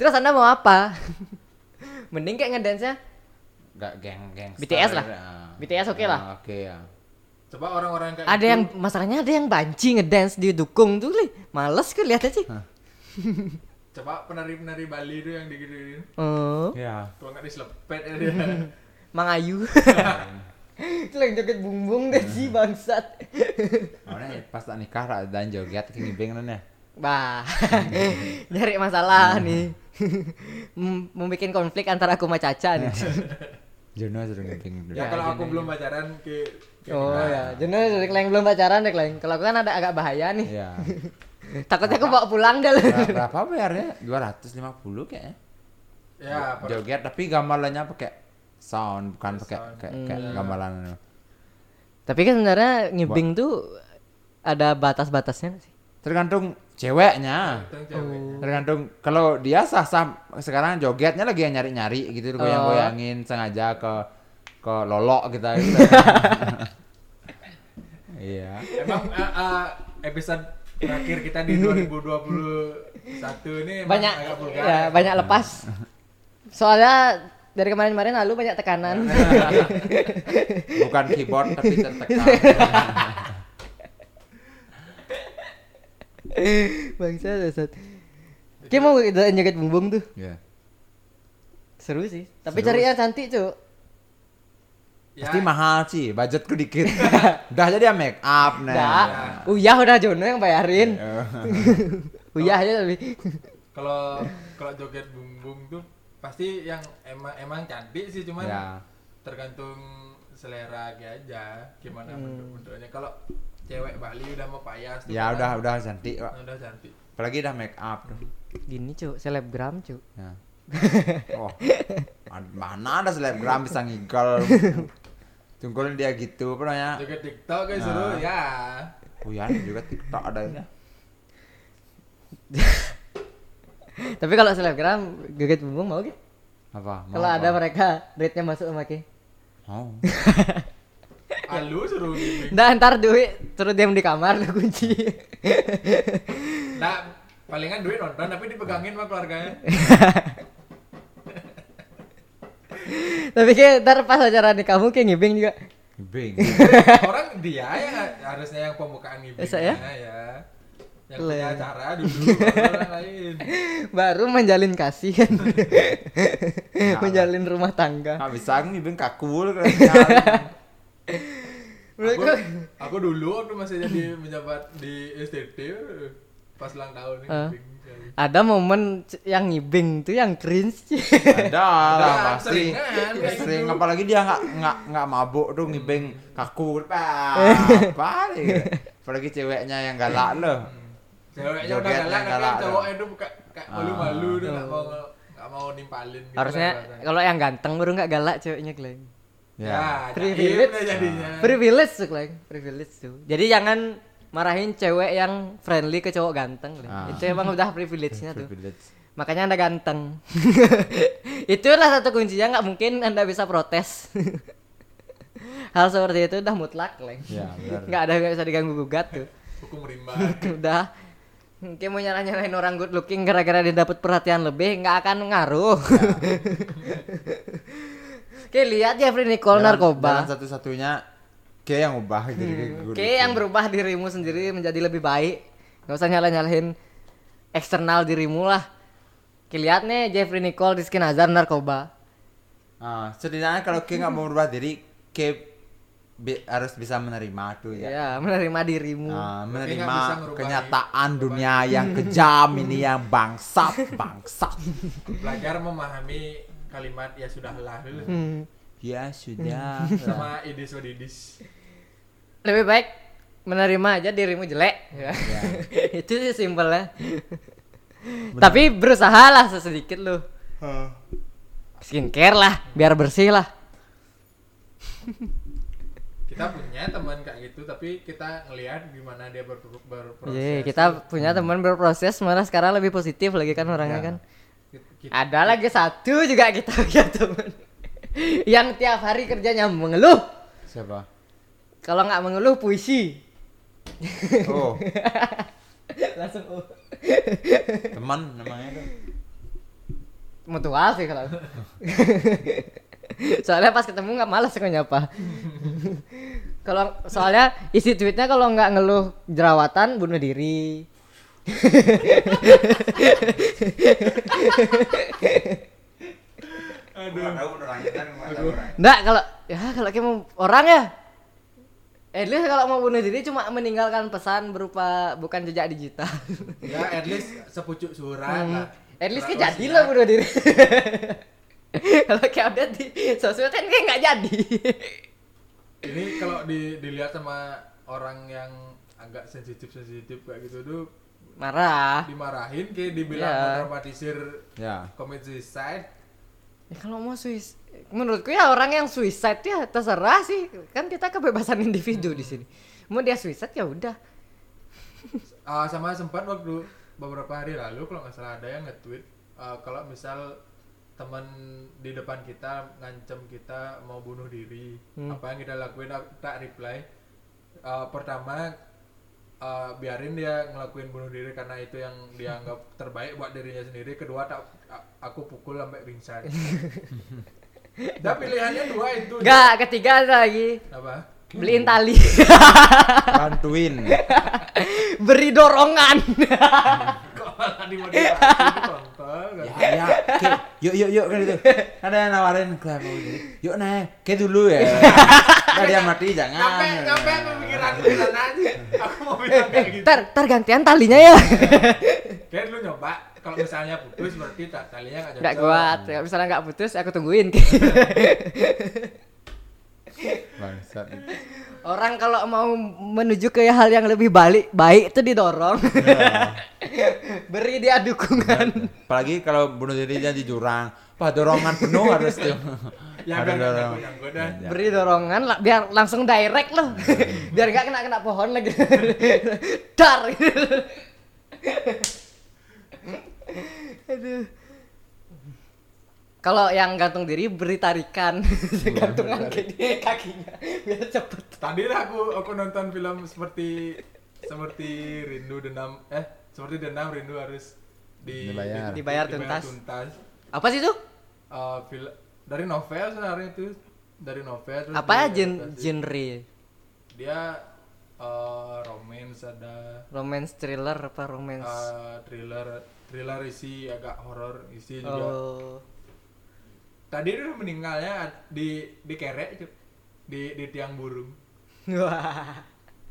S1: Terus Anda mau apa? Mending kayak ngedance-nya
S2: Enggak geng geng.
S1: BTS lah. BTS oke lah.
S2: Ah. Oke ya.
S3: coba orang-orang kayak
S1: ada
S3: gitu,
S1: yang masalahnya ada yang banci ngedance di dukung tuh li males kan lihat aja
S2: Hah.
S3: coba penari-penari Bali itu yang digituin
S1: oh
S2: Iya.
S3: kalau nggak diselepet ya dia.
S1: mang ayu itu yang joget bumbung deh si bangsat
S2: Awalnya ya? pas tak nikah rak dan joget kini pengen ya.
S1: bah nyari masalah nih Mem- membuat konflik antara aku sama Caca nih
S2: Jono sudah ngeping dulu.
S3: ya kalau aku
S1: gini.
S3: belum pacaran ke,
S1: gitu.
S3: ke
S1: oh
S3: kita.
S1: ya jenis dari Kleng belum pacaran deh Kleng kalau aku kan ada agak bahaya nih
S2: Iya. Nah.
S1: takutnya aku bawa pulang deh
S2: Ber- Berapa bayarnya? 250 kayaknya.
S3: ya per-
S2: Joget tapi gamelannya pakai sound bukan pakai kayak kayak
S1: Hmm.
S2: gamelan.
S1: tapi kan sebenarnya ngibing tuh ada batas-batasnya nggak sih
S2: Tergantung ceweknya.
S3: tentang cewek
S1: Oh.
S2: Tergantung kalau dia sah sah sekarang jogetnya lagi yang nyari nyari gitu goyang goyangin sengaja ke ke lolok kita gitu. Iya.
S3: emang ah, ah, episode terakhir kita di 2021 ini emang
S1: banyak
S3: agak vulgar
S1: ya, banyak lepas soalnya dari kemarin-kemarin lalu banyak tekanan
S2: Nah. Bukan keyboard tapi tertekan.
S1: bangsa dasar Kayak mau joget joget bumbung tuh
S2: Iya.
S1: seru sih tapi
S2: Seru.
S1: cari yang cantik cuy
S3: Ya,
S2: Pasti mahal sih, budgetku dikit. Udah jadi ya make up nih.
S1: Nggak. uyah udah Jono yang bayarin
S2: Iya.
S1: uyah aja tapi
S3: kalau kalau joget bumbung tuh pasti yang emang emang cantik sih cuman
S2: Ya.
S3: tergantung selera dia aja gimana
S2: Hmm.
S3: bentuk-bentuknya kalau cewek Bali udah mau payas tuh
S2: Ya
S3: kadang
S2: udah udah cantik kok.
S3: udah cantik
S2: Apalagi udah make up tuh.
S1: gini cuy selebgram cuy
S2: Ya. Oh, ad- mana ada selebgram bisa ngigol. Tunggul dia gitu apa namanya?
S3: joget TikTok guys suruh
S2: Nah.
S3: ya
S2: Uyan juga TikTok ada ya.
S1: tapi kalau selebgram joget bumbung mau gak
S2: Apa? Mau
S1: kalau
S2: apa?
S1: ada mereka duitnya masuk sama ki
S2: Mau.
S3: alu gitu. suruh gini
S1: nah ntar duit terus diam di kamar lu kunci
S3: nah palingan duit nonton tapi dipegangin sama keluarganya
S1: tapi kayak ntar pas acara nikah kamu kayak ngibing juga
S2: Bing.
S3: orang dia yang harusnya yang pembukaan ibu
S1: Saya?
S3: ya yang
S1: Le.
S3: punya acara dulu baru orang lain
S1: baru menjalin kasih kan menjalin rumah tangga
S2: Enggak bisa nih Bing kaku.
S1: menurutku
S3: aku, aku dulu waktu masih jadi menjabat di STT pas ulang tahun nih
S1: Eh.
S3: bimbing.
S1: ada momen c- yang ngibing tuh yang cringe
S2: Ada lah
S3: Ada,
S2: pasti.
S3: seringan kayak
S2: Sering
S3: gitu.
S2: apalagi dia nggak nggak nggak mabuk tuh ngibeng kaku apa apa nih. Apalagi ceweknya yang galak loh.
S3: ceweknya udah
S2: Jogetnya galak
S3: galak tapi yang
S2: tuh.
S3: cowoknya tuh buka kayak
S2: Ah.
S3: malu-malu udah nggak mau nggak mau nimpalin gitu lah
S1: harusnya
S3: rasanya.
S1: kalau yang ganteng baru nggak galak ceweknya Glenn
S3: ya
S2: Ya.
S1: Privilege.
S3: privilege jadinya
S1: Ah. privilege tuh Glenn privilege tuh jadi jangan marahin cewek yang friendly ke cowok ganteng Glenn.
S2: Ah.
S1: itu emang udah privilege-nya tuh
S2: Privilege.
S1: makanya anda ganteng itulah satu kuncinya nggak mungkin anda bisa protes hal seperti itu udah mutlak Glenn.
S2: Ya, benar.
S1: nggak ada nggak bisa diganggu gugat tuh
S3: hukum rimba
S1: udah Mungkin mau nyala nyalain orang good looking gara-gara dia dapat perhatian lebih nggak akan ngaruh.
S2: Ya.
S1: Oke lihat Jeffrey Nicole
S2: Jalan- jalan
S1: narkoba.
S2: satu-satunya kayak yang ubah gitu. kayak gue
S1: Oke
S2: dulu.
S1: yang berubah dirimu sendiri menjadi lebih baik. Gak usah nyala nyalahin eksternal dirimu lah. Oke lihat nih Jeffrey Nicole di skin Hazard narkoba.
S2: Ah, setidaknya kalau kayak nggak mau berubah diri, kayak bi- harus bisa menerima tuh ya.
S1: Ya menerima dirimu.
S2: Ah,
S3: Kayak Iya. nggak bisa ya.
S2: menerima
S3: ngerubah
S2: kenyataan dunia
S3: ya.
S2: yang kejam ini yang bangsat bangsat.
S3: belajar memahami kalimat ya sudahlah dulu
S1: Hmm.
S2: ya sudah.
S3: sama idis wadidis
S1: Lebih baik menerima aja dirimu jelek. Ya. Itu sih simpelnya. Tapi berusaha lah sesedikit loh. skincare lah biar bersih lah
S3: kita punya teman kayak gitu tapi kita ngelihat gimana dia ber berproses
S1: Iya, kita punya teman berproses malah sekarang lebih positif lagi kan orangnya
S2: Ya.
S1: kan
S3: Kita-
S1: ada lagi satu juga kita punya teman yang tiap hari kerjanya mengeluh
S2: Siapa?
S1: kalau nggak mengeluh puisi
S2: Oh,
S1: langsung oh.
S2: teman namanya tuh.
S1: mutual sih kalau aku. soalnya pas ketemu nggak malas kok nyapa Kalau soalnya isi tweetnya kalau nggak ngeluh jerawatan bunuh diri.
S2: Kurang tahu orangnya kan, kurang tahu orangnya.
S1: Nggak kalau ya kalau kayak mau orang ya. At least kalau mau bunuh diri cuma meninggalkan pesan berupa bukan jejak digital.
S3: ya at least sepucuk surat
S1: Hmm,
S3: lah
S1: At least
S3: Surat
S1: kayak jadi
S3: wasiat.
S1: lah bunuh diri. nah. kalau kayak update di sosmed kan kayak nggak jadi.
S3: ini kalau di- dilihat sama orang yang agak sensitif sensitif kayak gitu tuh
S1: Marah.
S3: dimarahin kayak dibilang
S1: Ah. Iya.
S3: mendramatisir
S2: Ya.
S3: commit suicide
S1: Ya kalau mau suis menurutku ya orang yang suicide ya terserah sih. Kan kita kebebasan individu di sini. Mau dia suicide ya udah.
S3: Ah, sama sempat waktu beberapa hari lalu kalau nggak salah ada yang nge-tweet ah, kalau misal teman di depan kita ngancam kita mau bunuh diri
S1: Hmm.
S3: apa yang kita lakuin aku tak reply Ah, pertama ah, biarin dia ngelakuin bunuh diri karena itu yang dianggap terbaik buat dirinya sendiri kedua tak a- aku pukul sampai pingsan Nah pilihannya dua itu
S1: Enggak, ketiga ada lagi.
S3: apa
S1: Beliin tali.
S2: Bantuin.
S1: Beri dorongan.
S3: kok malah dimotivasi kontol
S2: ya, ya. Oke, yuk yuk yuk kan gitu. Ada yang nawarin klub Yuk naik, ke dulu ya. Nah, dia mati jangan.
S3: Nyampe, nyampe pemikiran pikiran aja. Aku mau bilang kayak gitu.
S1: Ntar, ntar gantian talinya ya.
S3: Kayak lu nyoba, kalau misalnya putus berarti tak talinya nggak cocok.
S1: Enggak kuat. Kalau misalnya enggak putus, aku tungguin.
S2: Bangsat.
S1: Orang kalau mau menuju ke hal yang lebih balik, baik itu didorong. Beri dia
S2: Kan?
S1: dukungan.
S2: Iya, Apalagi kalau bunuh dirinya di jurang. Wah, dorongan penuh harus tuh.
S3: Ya,
S2: Ada
S3: goda,
S2: dorongan.
S3: goda, goda.
S2: Ya.
S1: Beri dorongan lah, biar langsung direct loh. biar nggak kena kena pohon lagi. Dar. Aduh. Kalau yang gantung diri beri tarikan, gantungan kayak kakinya biar cepet.
S3: Tadi lah aku aku nonton film seperti seperti rindu dendam eh seperti dendam rindu harus di,
S2: Dibayar.
S1: Dibayar tuntas.
S3: tuntas.
S1: Apa sih itu?
S3: Eh, fil- dari novel sebenarnya itu dari novel terus
S1: Apa ya gen
S3: diadaptasi.
S1: genre?
S3: dia eh, romance ada
S1: Romance thriller apa romance?
S3: eh, thriller thriller isi agak horor
S2: Iya
S3: isi juga
S1: oh.
S3: Tadi dia meninggalnya di di kerek Cuk. di di tiang burung.
S1: Wah. Oh.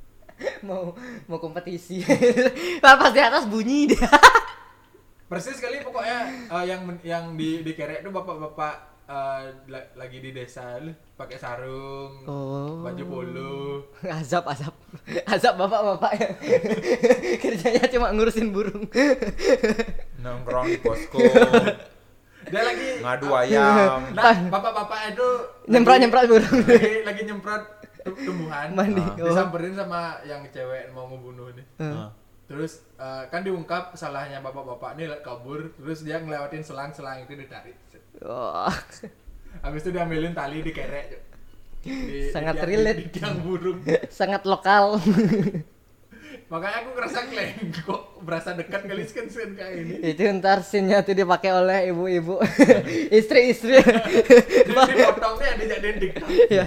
S1: Mau mau kompetisi. Lah, Pas di atas bunyi dia.
S3: Persis sekali pokoknya eh, yang men- yang di di kerek itu bapak-bapak eh, la- lagi di desa lu pakai sarung,
S1: Oh.
S3: baju polo.
S1: azab azab azab bapak-bapak yang kerjanya cuma ngurusin burung
S2: Nongkrong di posko,
S3: Dia lagi Ah,
S2: ngadu ayam.
S3: nah, bapak-bapak itu
S1: Nyemprot-
S3: lagi-
S1: nyemprot burung.
S3: Lagi, lagi nyemprot tu- tumbuhan.
S1: Mandi. Oh.
S3: Ah. Disamperin sama yang cewek mau ngebunuh nih.
S2: Ah.
S3: Terus eh, kan diungkap salahnya bapak-bapak ini kabur, terus dia ngelewatin selang-selang itu ditarik.
S1: Wah,
S3: Habis itu diambilin tali di kerek. Cuk. Di,
S1: Sangat
S3: tiang-
S1: relate.
S3: Di, tiang burung.
S1: sangat lokal
S3: Makanya aku ngerasa kleng kok berasa dekat kali skin kayak ini.
S1: itu ntar scene-nya tuh dipakai oleh ibu-ibu istri-istri
S3: Terus dipotongnya dijadiin TikTok.
S1: ya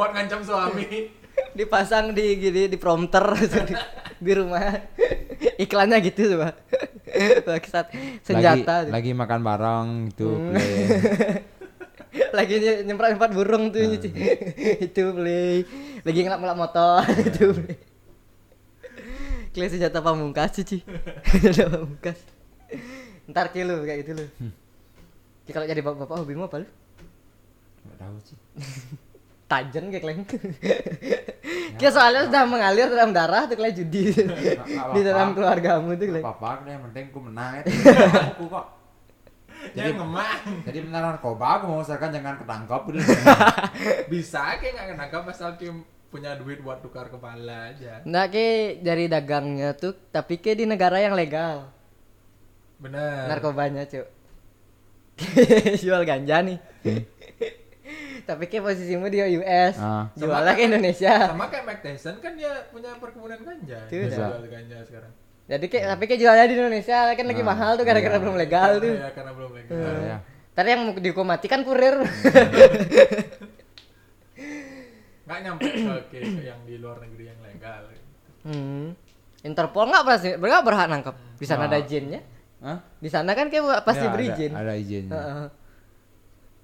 S3: Buat ngancam suami.
S1: dipasang di gini di prompter di, di rumah iklannya gitu coba Bangsat, senjata
S2: Lagi, lagi makan bareng gitu. play.
S1: lagi nye- nyemprot-nyemprot burung
S2: Hmm.
S1: tuh nyuci itu beli lagi ngelap-ngelap motor itu beli Klik senjata pamungkas cuci senjata pamungkas ntar kilo kayak gitu lu
S2: Hmm.
S1: Ya, kalau jadi bapak-bapak hobimu apa lu
S2: Nggak tahu sih.
S1: tajen kayak kleng ya soalnya sudah mengalir dalam darah tuh kayak judi di dalam
S2: apa-apa.
S1: keluargamu tuh kleng
S2: Apa-apa, aku yang penting aku menang. itu. Aku kok.
S3: Dia
S2: Jadi-
S3: ngemang.
S2: Jadi benar narkoba, aku mengusahakan jangan ketangkap. gitu.
S3: Bisa kayak nggak nangkap asal dia punya duit buat tukar kepala aja.
S1: Nah, ke dari dagangnya tuh, tapi ke di negara yang legal.
S3: Bener.
S1: narkobanya cuk jual ganja nih tapi ke posisimu di US
S2: Ah.
S1: jualnya ke Indonesia
S3: Sama kayak Mike Tyson kan dia punya perkebunan ganja.
S1: Itu
S3: Dia
S2: dah.
S3: jual ganja sekarang.
S1: jadi ke tapi ke jualnya di Indonesia kan lagi
S2: Ah, Iya.
S1: mahal tuh gara-gara belum legal
S3: Karena-
S1: tuh Eh.
S3: Ya, karena belum legal.
S2: Ya, ya.
S1: tadi yang mau dihukum mati kan kurir
S3: Nggak nyampe ke case yang di luar negeri yang legal.
S1: Hmm. Interpol nggak pasti mereka berhak nangkep. Di sana ada
S2: Nah.
S1: izinnya.
S2: Hah?
S1: Di sana kan kayak pasti
S2: Ya, ada-
S1: berizin.
S2: Ada izinnya.
S1: Heeh.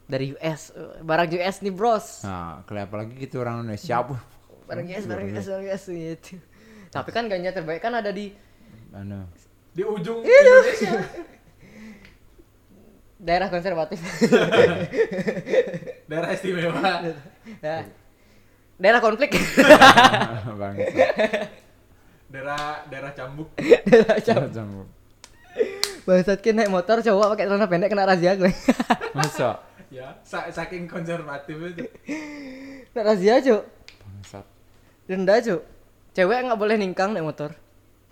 S1: Dari US, eh, barang US nih bros.
S2: Nah, kenapa lagi gitu orang Indonesia pun.
S1: Barang US, barang
S2: Iya,
S1: US, barang US gitu. Tapi kan ganja terbaik kan ada di
S2: Anu.
S3: Di ujung
S1: Iya
S3: Indonesia.
S1: daerah konservatif.
S3: Daerah istimewa.
S1: Nah, daerah konflik.
S2: Bang.
S3: Daerah daerah cambuk.
S1: daerah Cam-
S2: Cambuk.
S1: Bangsat Ki, naik motor cowok pakai celana pendek kena razia gue.
S2: Masa?
S3: Ya, sa- saking konservatif itu.
S1: kena razia, Cuk.
S2: Bangsat.
S1: Denda, Cuk. Cewek nggak boleh ningkang naik motor.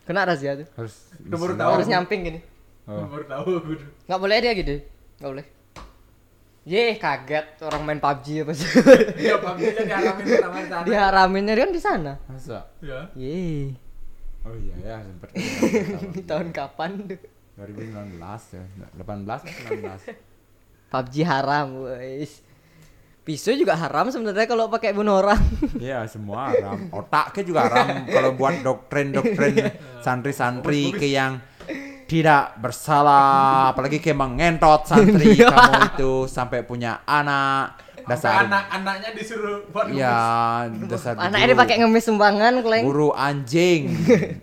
S1: Kena razia tuh.
S2: Harus
S3: Nomor
S2: disenang.
S3: Oh.
S1: Harus nyamping gini.
S2: Oh.
S3: Baru tahu aku.
S1: Nggak boleh dia gitu. Nggak boleh. Yeh, kaget orang main PUBG apa sih.
S3: Ya, pamjilnya diaramin pertama di sana.
S1: Diharaminnya kan di sana.
S2: Masa?
S3: Ya.
S1: Yeay.
S2: Oh iya ya sempat.
S1: Tahun kapan tuh?
S2: 2019 ya. 18 atau 19.
S1: PUBG haram, guys. Pisau juga haram sebenarnya kalau pakai bunuh orang.
S2: Iya semua haram. Otaknya juga haram kalau buat doktrin-doktrin santri-santri ke yang tidak bersalah, apalagi kayak mengentot santri kamu itu sampai punya anak
S3: Sampai
S2: dasar
S3: anak-anaknya disuruh buat
S2: ya dasar
S1: Anaknya dia
S2: guru.
S1: pakai ngemis sumbangan, kleng.
S2: guru anjing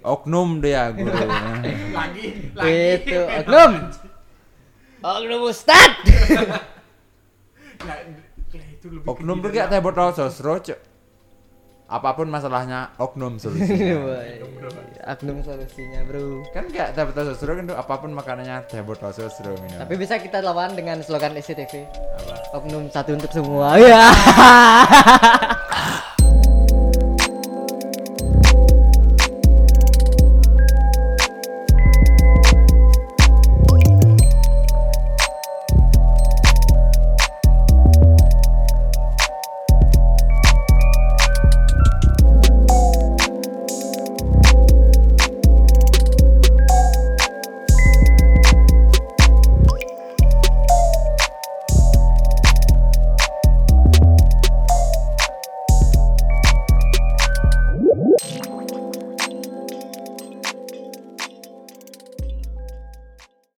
S2: oknum dia guru ya.
S3: rumus. lagi lagi.
S1: Itu, oknum. Oknum Ustad.
S3: Nah, ya, itu lebih
S2: oknum
S3: keji
S2: tuh
S3: dari
S2: kayak teh botol sosro Cuk. apapun masalahnya oknum solusinya
S1: Oknum solusinya, Bro.
S2: kan kayak teh botol sosro kan tuh apapun makanannya teh botol sosro gitu. minum.
S1: Tapi bisa kita E lawan dengan slogan SCTV.
S2: Apa?
S1: Oknum satu untuk semua. Ya.